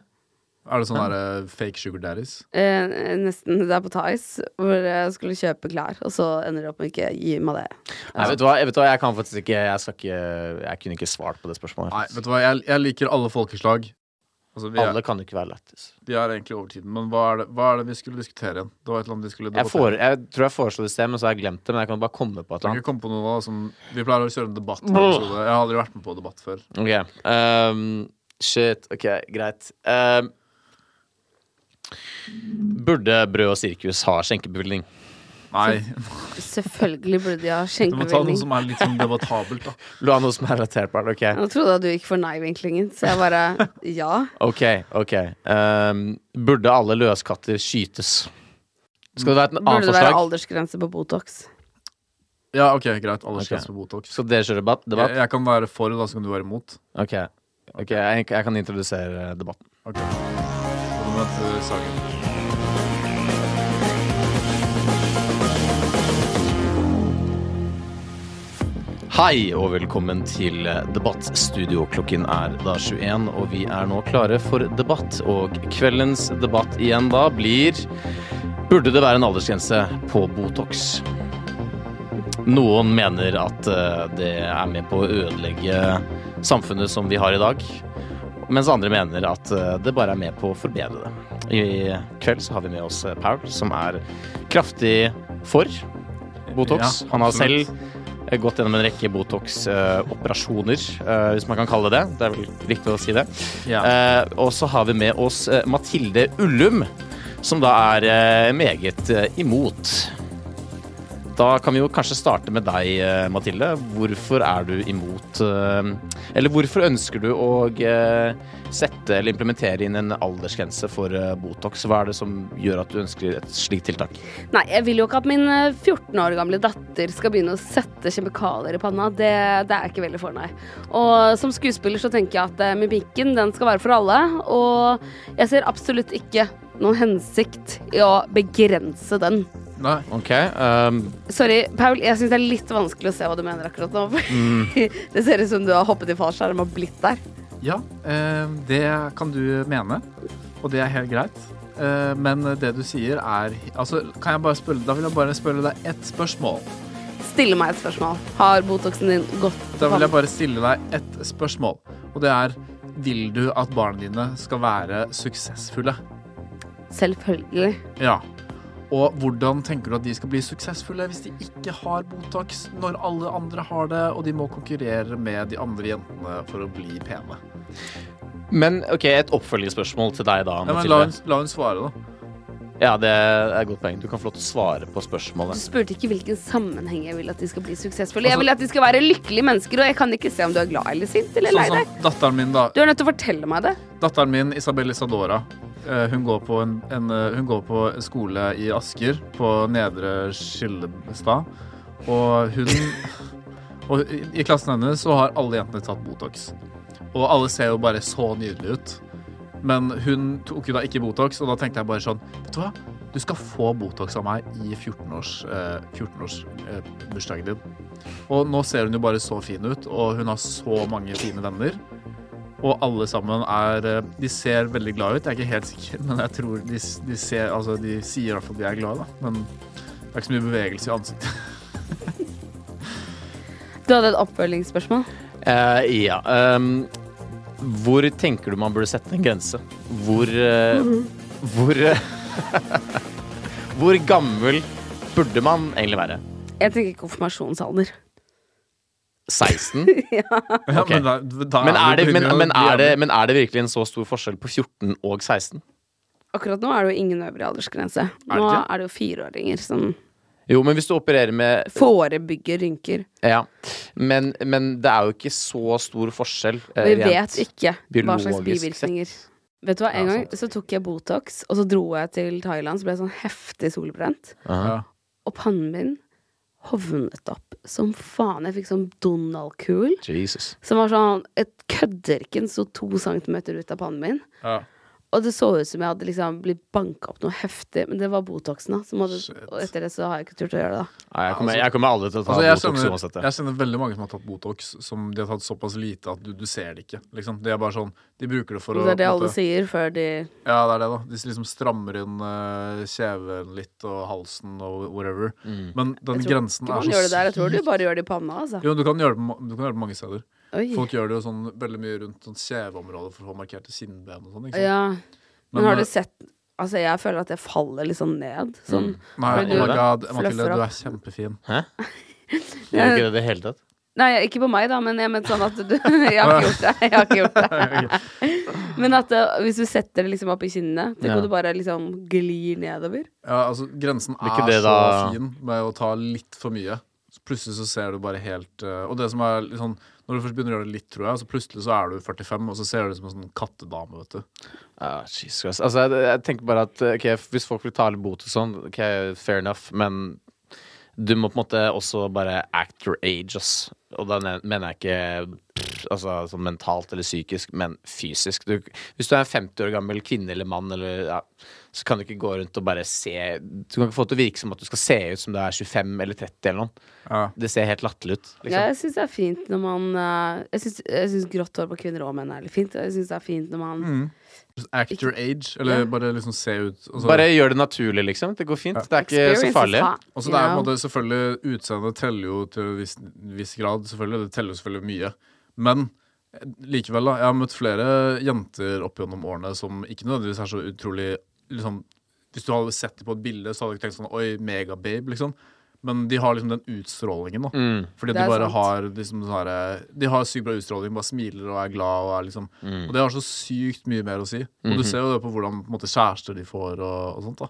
Speaker 2: Er det sånn der, eh, fake sugar daddies?
Speaker 5: Eh, nesten der på Tice, hvor jeg skulle kjøpe klær, og så ender det opp med ikke gi meg det.
Speaker 4: Nei, vet du hva, jeg, vet du hva? jeg kan faktisk ikke Jeg, skal ikke, jeg kunne ikke svart på det spørsmålet.
Speaker 2: Nei, vet du hva, jeg, jeg liker alle folkeslag. Altså, vi er,
Speaker 4: Alle kan jo ikke være lættis.
Speaker 2: De er egentlig over tiden, men hva er, det, hva er det vi skulle diskutere igjen? Det var et eller annet vi skulle
Speaker 4: Jeg, fore- jeg tror jeg foreslo det i sted, men så har jeg glemt det. Men jeg kan bare komme på
Speaker 2: Jeg
Speaker 4: et eller
Speaker 2: kan
Speaker 4: annet.
Speaker 2: ikke komme på noe da, som, Vi pleier å kjøre en debatt. på en episode. Jeg har aldri vært med på debatt før.
Speaker 4: Ok, ehm, Shit. Ok, greit. Ehm, burde Brød og sirkus ha skjenkebevilgning?
Speaker 2: Nei,
Speaker 5: Selvfølgelig burde de
Speaker 2: (laughs)
Speaker 5: ha
Speaker 2: Du må ta noe
Speaker 5: skjenkebevilgning.
Speaker 2: som er litt sånn debattabelt. da
Speaker 4: La noe som er relatert på det. ok
Speaker 5: Nå trodde jeg du gikk for nei-vinklingen, så jeg bare
Speaker 2: (laughs)
Speaker 5: ja.
Speaker 4: Ok, ok. Ehm, burde alle løskatter skytes? Skal det være et
Speaker 5: Burde
Speaker 4: annet
Speaker 5: det
Speaker 4: forslag?
Speaker 5: være aldersgrense på Botox?
Speaker 2: Ja, ok, Greit. Alle
Speaker 4: Ok.
Speaker 2: skal på Botox.
Speaker 4: Skal dere kjøre debatt?
Speaker 2: Jeg,
Speaker 4: debatt?
Speaker 2: jeg kan være for, da, så kan du være imot.
Speaker 4: Ok, ok, jeg, jeg kan introdusere debatten.
Speaker 2: Ok Så du møter Sagen.
Speaker 4: Hei og velkommen til Debattstudio. Klokken er da 21, og vi er nå klare for debatt. Og kveldens debatt igjen da blir Burde det være en aldersgrense på Botox? Noen mener at eh, det er med på å ødelegge samfunnet som vi har i dag. Mens andre mener at eh, det bare er med på å forbedre det. I kveld så har vi med oss eh, Paul, som er kraftig for Botox.
Speaker 2: Ja,
Speaker 4: Han har
Speaker 2: absolutt.
Speaker 4: selv eh, gått gjennom en rekke Botox-operasjoner, eh, hvis man kan kalle det det. Det er vel riktig å si det.
Speaker 2: Ja.
Speaker 4: Eh, og så har vi med oss eh, Mathilde Ullum, som da er eh, meget eh, imot. Da kan vi jo kanskje starte med deg, eh, Mathilde. Hvorfor er du imot eh, Eller hvorfor ønsker du å eh, sette eller implementere inn en aldersgrense for eh, Botox? Hva er det som gjør at du ønsker et slikt tiltak?
Speaker 5: Nei, jeg vil jo ikke at min eh, 14 år gamle datter skal begynne å sette kjemikalier i panna. Det, det er jeg ikke veldig for, nei. Og som skuespiller så tenker jeg at eh, mimikken, den skal være for alle. Og jeg ser absolutt ikke noen hensikt i å begrense den.
Speaker 2: Nei.
Speaker 4: Ok, ehm,
Speaker 5: Sorry, Paul, jeg syns det er litt vanskelig å se hva du mener akkurat nå. (laughs) fordi
Speaker 2: Mm.
Speaker 5: Det ser ut som du har hoppet i fallskjerm og blitt der.
Speaker 2: Ja, eh, det kan du mene, og det er helt greit. Eh, Men det du sier er Altså, kan jeg bare spørre Da vil jeg bare spørre deg ett spørsmål.
Speaker 5: Stille meg et spørsmål. Har Botoxen din gått
Speaker 2: Da vil jeg bare stille deg ett spørsmål, og det er Vil du at barna dine skal være suksessfulle?
Speaker 5: Selvfølgelig.
Speaker 2: Ja. Og hvordan tenker du at de skal bli suksessfulle hvis de ikke har Botox, når alle andre har det, og de må konkurrere med de andre jentene for å bli pene?
Speaker 4: men ok, et oppfølgingsspørsmål til deg da,
Speaker 2: Ja, men la
Speaker 4: Mathilde.
Speaker 2: hun, la hun svare, da.
Speaker 4: Ja, det er et godt poeng. Du kan få lov til å svare på
Speaker 5: Du
Speaker 4: spørsmålet.
Speaker 5: spurte ikke hvilken sammenheng jeg vil at de skal bli suksessfulle. Jeg vil at de skal være lykkelige mennesker, og jeg kan ikke se om du er glad eller sint eller lei
Speaker 2: Sånn
Speaker 5: deg.
Speaker 2: som datteren min, da.
Speaker 5: Du er nødt til å fortelle meg det.
Speaker 2: Datteren min, Isabel Isadora, eh, hun går på, en, en, eh, hun går på skole i Asker, på Nedre Skillestad. Og hun (laughs) Og i, i klassen hennes så har alle jentene tatt Botox. Og alle ser jo bare så nydelige ut. Men hun tok jo da ikke Botox, og da tenkte jeg bare sånn Vet du hva? Du skal få Botox av meg i 14-årsbursdagen eh, 14 eh, bursdagen din. Og nå ser hun jo bare så fin ut, og hun har så mange fine venner. Og alle sammen er eh, De ser veldig glade ut. Jeg er ikke helt sikker, (laughs) men jeg tror de, de ser Altså, de sier i hvert fall at de er glade, da. Men det er ikke så mye bevegelse i ansiktet. (laughs)
Speaker 5: Du hadde et oppfølgingsspørsmål.
Speaker 4: Eh, ja. ehm, hvor tenker du man burde sette en grense? Hvor eh, Hvor (laughs) eh, Hvor gammel burde man egentlig være?
Speaker 5: Jeg tenker konfirmasjonsalder.
Speaker 4: 16?
Speaker 2: Ja,
Speaker 4: Ok.
Speaker 2: men, da, da
Speaker 4: Men er, det,
Speaker 2: vi
Speaker 4: men,
Speaker 2: begynner jo-
Speaker 4: men,
Speaker 2: vi
Speaker 4: er det, men er det virkelig en så stor forskjell på 14 og 16?
Speaker 5: Akkurat nå er det jo ingen øvre aldersgrense. Nå
Speaker 2: ikke?
Speaker 5: er det jo fireåringer som
Speaker 4: Jo, men hvis du opererer med
Speaker 5: forebygger rynker.
Speaker 4: Ja. Men, men det er jo ikke så stor forskjell. eh,
Speaker 5: Vi
Speaker 4: rent.
Speaker 5: vet ikke hva
Speaker 4: biologisk
Speaker 5: slags
Speaker 4: sett.
Speaker 5: bivirkninger. Vet du hva, En
Speaker 4: Ja,
Speaker 5: gang så tok jeg Botox, og så dro jeg til Thailand, så ble jeg sånn heftig solbrent.
Speaker 4: Aha.
Speaker 2: Ja.
Speaker 5: Og pannen min hovnet opp som faen. Jeg fikk sånn Donald-kul.
Speaker 4: Jesus.
Speaker 5: Som var sånn Et kødderken sto to centimeter ut av pannen min.
Speaker 2: Ja.
Speaker 5: Og det så ut som jeg hadde liksom blitt banka opp noe heftig, men det var Botoxen. da som hadde,
Speaker 2: Shit.
Speaker 5: Og etter det så har jeg ikke turt å gjøre det. da
Speaker 4: Nei, jeg, kommer, jeg kommer aldri til å ta
Speaker 2: Altså, jeg,
Speaker 4: Botox
Speaker 2: kjenner,
Speaker 4: uansett.
Speaker 2: jeg kjenner veldig mange som har tatt Botox, som de har tatt såpass lite at du, du ser det ikke. Liksom. Det er bare sånn, De bruker det for å
Speaker 5: Det er det
Speaker 2: på en
Speaker 5: alle
Speaker 2: måte-
Speaker 5: sier før de
Speaker 2: Ja, det er det, da. De liksom strammer inn eh, kjeven litt og halsen og whatever.
Speaker 4: Mm.
Speaker 2: Men den
Speaker 5: Jeg tror
Speaker 2: grensen
Speaker 5: ikke
Speaker 2: er
Speaker 5: man
Speaker 2: så
Speaker 5: gjør det der. Jeg tror du
Speaker 2: syk.
Speaker 5: bare gjør det i panna, altså.
Speaker 2: Jo, du kan gjøre det, på ma- du kan gjøre det på mange steder.
Speaker 5: Oi.
Speaker 2: Folk gjør det jo sånn veldig mye rundt sånn kjeveområdet for å få markerte kinnben og sånn. ikke sant?
Speaker 5: Ja. Men,
Speaker 2: Men,
Speaker 5: har
Speaker 2: eh,
Speaker 5: du sett Altså, jeg føler at jeg faller litt sånn ned. Sånn.
Speaker 2: Nei,
Speaker 5: Har
Speaker 2: oh
Speaker 5: du
Speaker 2: my god, Mathilde,
Speaker 5: fluffer
Speaker 2: du
Speaker 5: opp?
Speaker 2: er kjempefin.
Speaker 4: (laughs) Jeg gjør ikke det i det hele tatt.
Speaker 5: Nei, ikke på meg, da, men jeg mente sånn at du (laughs) Jeg har ikke gjort det. Jeg har ikke gjort
Speaker 2: (laughs)
Speaker 5: det. Men at eh, hvis du setter det liksom opp i kinnene, tenk
Speaker 4: Ja.
Speaker 5: om du bare liksom glir nedover.
Speaker 2: Ja, altså, grensen
Speaker 4: Blir ikke
Speaker 2: er
Speaker 4: det
Speaker 2: så
Speaker 4: da-
Speaker 2: fin med å ta litt for mye. Så plutselig så ser du bare helt eh, Og det som er litt sånn Når du først begynner å gjøre det litt, tror jeg, så plutselig så er du 45, og så ser du ut som en sånn kattedame, vet du.
Speaker 4: Ah, Jesus Christ. Altså, jeg, jeg tenker bare at ok, hvis folk vil ta litt bot og sånn, ok, fair enough, men du må på en måte også bare act your age, ass. Og da ne- mener jeg ikke pff, altså, sånn mentalt eller psykisk, men fysisk. Du, hvis du er en 50 år gammel kvinne eller mann, eller, ja, så kan du ikke gå rundt og bare se Du kan ikke få det til å virke som at du skal se ut som du er 25 eller 30 eller noe.
Speaker 2: Ja.
Speaker 4: Det ser helt latterlig ut.
Speaker 5: Ja,
Speaker 4: Liksom.
Speaker 5: jeg syns det er fint når man eh, Jeg syns- jeg syns grått hår på kvinner og menn er litt fint. og Jeg syns det er fint når man
Speaker 2: Just Act your age, eller
Speaker 5: Ja.
Speaker 2: bare liksom se ut og så-
Speaker 4: Bare gjør det naturlig, liksom. Det går fint. Det er ikke
Speaker 5: Experience
Speaker 4: så
Speaker 5: is
Speaker 4: farlig.
Speaker 5: hot,
Speaker 2: Og så
Speaker 5: you
Speaker 2: Altså, det er på en
Speaker 5: know.
Speaker 2: måte selvfølgelig Utseendet teller jo til en viss, viss grad, selvfølgelig. Det teller jo selvfølgelig mye. Men eh, likevel, da. Jeg har møtt flere jenter opp gjennom årene som ikke nødvendigvis er så utrolig liksom, Hvis du hadde sett dem på et bilde, så hadde du ikke tenkt sånn Oi, megababe, liksom. Men de har liksom den utstrålingen, da. Fordi
Speaker 5: Det
Speaker 2: de
Speaker 5: er
Speaker 2: bare
Speaker 5: sant.
Speaker 2: har liksom sånn herre- De har sykt bra utstråling, bare smiler og er glad og er liksom Og det har så sykt mye mer å si. Og du ser jo det på hvordan på en måte, kjærester de får og, og sånt, da.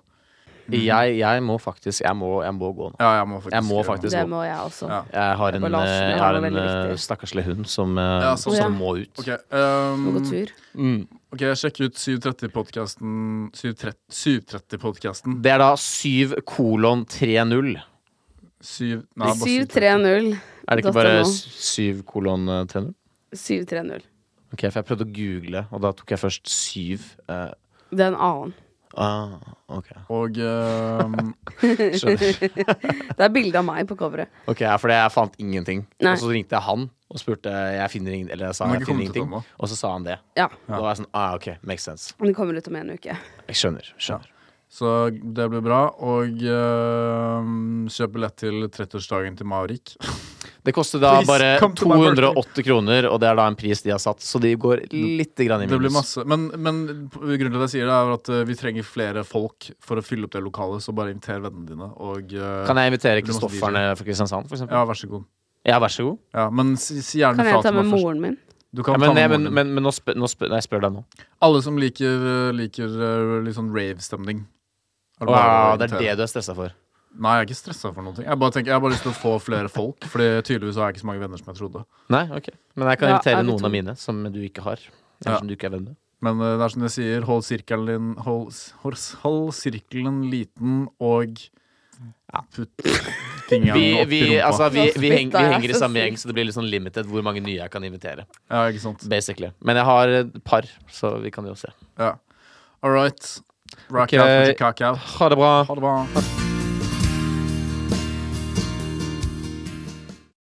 Speaker 4: Jeg, jeg må faktisk Jeg må, jeg må gå nå.
Speaker 2: Ja, jeg må faktisk
Speaker 4: Jeg må
Speaker 2: gjøre noe.
Speaker 4: faktisk
Speaker 5: Det må jeg også.
Speaker 2: Ja.
Speaker 4: Jeg har en, eh,
Speaker 5: Emballasjen
Speaker 4: jeg har
Speaker 5: er
Speaker 4: en
Speaker 5: veldig
Speaker 4: eh,
Speaker 5: viktig.
Speaker 4: stakkarslig hund som, eh,
Speaker 2: Ja,
Speaker 4: som,
Speaker 2: sånn,
Speaker 5: ja.
Speaker 4: må ut.
Speaker 2: Ok, ehm,
Speaker 5: Må gå tur.
Speaker 2: ok, sjekk ut 730-podkasten 730-podkasten
Speaker 4: Det er da 7 kolon 30.
Speaker 2: 7... Nei, bare 730.
Speaker 5: 730.
Speaker 4: Er det ikke bare
Speaker 5: .no.
Speaker 4: 7 kolon 30?
Speaker 5: 730.
Speaker 4: Ok, for jeg prøvde å google, og da tok jeg først 7. eh,
Speaker 5: Det er en annen.
Speaker 4: ah, ok,
Speaker 2: Og ehm, (laughs)
Speaker 4: skjønner.
Speaker 5: (laughs) Det er bilde av meg på coveret.
Speaker 4: Ok, ja, Fordi jeg fant ingenting.
Speaker 5: Nei.
Speaker 4: Og så ringte jeg han og spurte Jeg finner ingen, eller jeg sa
Speaker 2: Han har
Speaker 4: jeg
Speaker 2: ikke
Speaker 4: finner
Speaker 2: kommet ut
Speaker 4: ingenting.
Speaker 2: ennå.
Speaker 4: Og så sa han det.
Speaker 5: Ja.
Speaker 4: Da var jeg sånn ah, ok, makes sense.
Speaker 5: Men det kommer ut om en uke.
Speaker 4: Jeg skjønner. skjønner.
Speaker 2: Så det blir bra. Og ehm, kjøp billett til 30-årsdagen til Maurik.
Speaker 4: Det koster da
Speaker 2: Please,
Speaker 4: bare
Speaker 2: come to my birthday.
Speaker 4: 280 kroner, og det er da en pris de har satt, så de går lite grann i
Speaker 2: Det blir
Speaker 4: minus.
Speaker 2: masse Men, men grunnen til at jeg sier det, er at eh, vi trenger flere folk for å fylle opp det lokalet, så bare inviter vennene dine, og eh,
Speaker 4: Kan jeg invitere
Speaker 2: Det blir masse
Speaker 4: Kristofferne fra Kristiansand, for eksempel?
Speaker 2: Ja, vær så god.
Speaker 4: Ja, vær så god.
Speaker 2: Ja, men si, si gjerne
Speaker 5: Kan jeg
Speaker 2: fra
Speaker 5: ta
Speaker 2: til
Speaker 5: med
Speaker 2: meg først.
Speaker 5: moren min?
Speaker 2: Du
Speaker 4: Ja,
Speaker 2: kan
Speaker 4: men,
Speaker 2: ta
Speaker 4: nei,
Speaker 2: med
Speaker 4: men,
Speaker 2: moren din.
Speaker 4: men, men nå spør, nå spør Nei, jeg spør deg nå.
Speaker 2: Alle som liker, eh, liker eh, litt sånn rave-stemning. er det
Speaker 4: Å,
Speaker 2: bare å
Speaker 4: det er
Speaker 2: invitere.
Speaker 4: det du er stressa for.
Speaker 2: Nei, jeg er ikke stressa for noen ting. Jeg bare tenker, jeg har bare lyst til å få flere folk. Fordi tydeligvis har jeg ikke så mange venner som jeg trodde.
Speaker 4: Nei, ok Men jeg kan
Speaker 5: Ja,
Speaker 4: invitere
Speaker 5: er vi
Speaker 4: noen
Speaker 5: to?
Speaker 4: av mine som du ikke har.
Speaker 2: Ja.
Speaker 4: Som du ikke er venn med.
Speaker 2: Men eh, det er som de sier, hold sirkelen din Hold, s- hold, s- hold sirkelen liten og putt fingeren
Speaker 4: Vi,
Speaker 2: opp
Speaker 4: vi,
Speaker 2: i rumpa.
Speaker 4: altså, vi, vi, heng,
Speaker 5: Nå
Speaker 4: vi
Speaker 5: spyttet jeg
Speaker 4: henger i
Speaker 5: så
Speaker 4: samme
Speaker 5: sykt.
Speaker 4: gjeng, så det blir litt sånn limited hvor mange nye jeg kan invitere.
Speaker 2: Ja, ikke sant.
Speaker 4: Basically Men jeg har et par, så vi kan jo se.
Speaker 2: Ja. All right. Rock
Speaker 4: Ok.
Speaker 2: out, put your cock out.
Speaker 4: Ha det bra.
Speaker 2: Ha det bra.